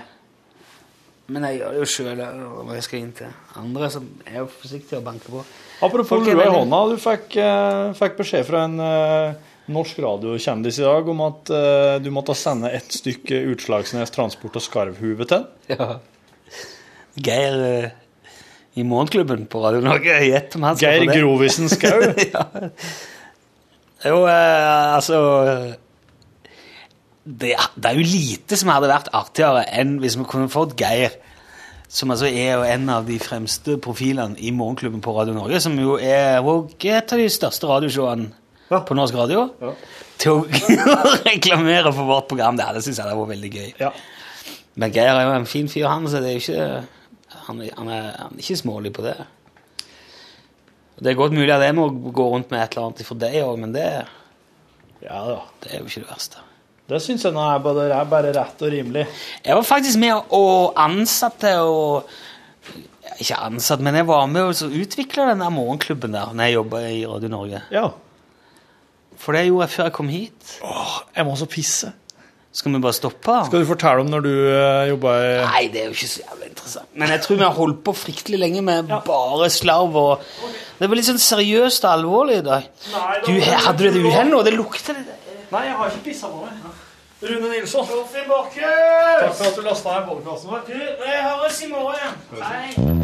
S2: Men jeg gjør det jo sjøl når jeg skal inn til andre, som er jo forsiktige og banker på.
S1: Apropos
S2: Folk er
S1: lua i
S2: veldig-
S1: hånda. Du fikk, eh, fikk beskjed fra en eh, norsk radiokjendis i dag om at eh, du måtte sende et stykke Utslagsnes Transport og Skarvhue til han.
S2: Ja. Geir eh, i Morgenklubben på Radio Norge, gjett om han skal
S1: Geir
S2: på det.
S1: Grovisen Skau.
S2: [laughs] ja. Jo, eh, altså det, er- det er jo lite som hadde vært artigere enn hvis vi kunne fått Geir, som altså er jo en av de fremste profilene i Morgenklubben på Radio Norge, som jo er jo et av de største radioshowene
S1: Ja.
S2: på norsk radio,
S1: Ja.
S2: til å [laughs] reklamere for vårt program. Det hadde syntes jeg det var veldig gøy.
S1: Ja.
S2: Men Geir er jo en fin fyr, han, så det er jo ikke Han, er- han, er, han er ikke smålig på det. Og Det er godt mulig at jeg må gå rundt med et eller annet for deg òg, men det,
S1: ja da.
S2: det er jo ikke det verste.
S1: Det syns jeg nå er bare, det er bare rett og rimelig.
S2: Jeg var faktisk med og ansatte og Ikke ansatt, men jeg var med og utvikla den der morgenklubben der når jeg jobba i Radio Norge.
S1: Ja.
S2: For det gjorde jeg før jeg kom hit.
S1: Åh, jeg må så pisse.
S2: Skal vi bare stoppe?
S1: Skal du fortelle om når du uh, jobba i
S2: Nei, det er jo ikke så jævlig interessant. Men jeg tror vi har holdt på fryktelig lenge med bare slarv og Det var litt sånn seriøst og alvorlig i dag.
S1: Nei, da-
S2: Du, he- hadde du et uhell nå? Det lukter det
S1: Nei, jeg har ikke pissa på meg. Rune Nilsson. Takk for at du lasta ned podkasten vår.
S2: Du, vi høres i morgen. Hei.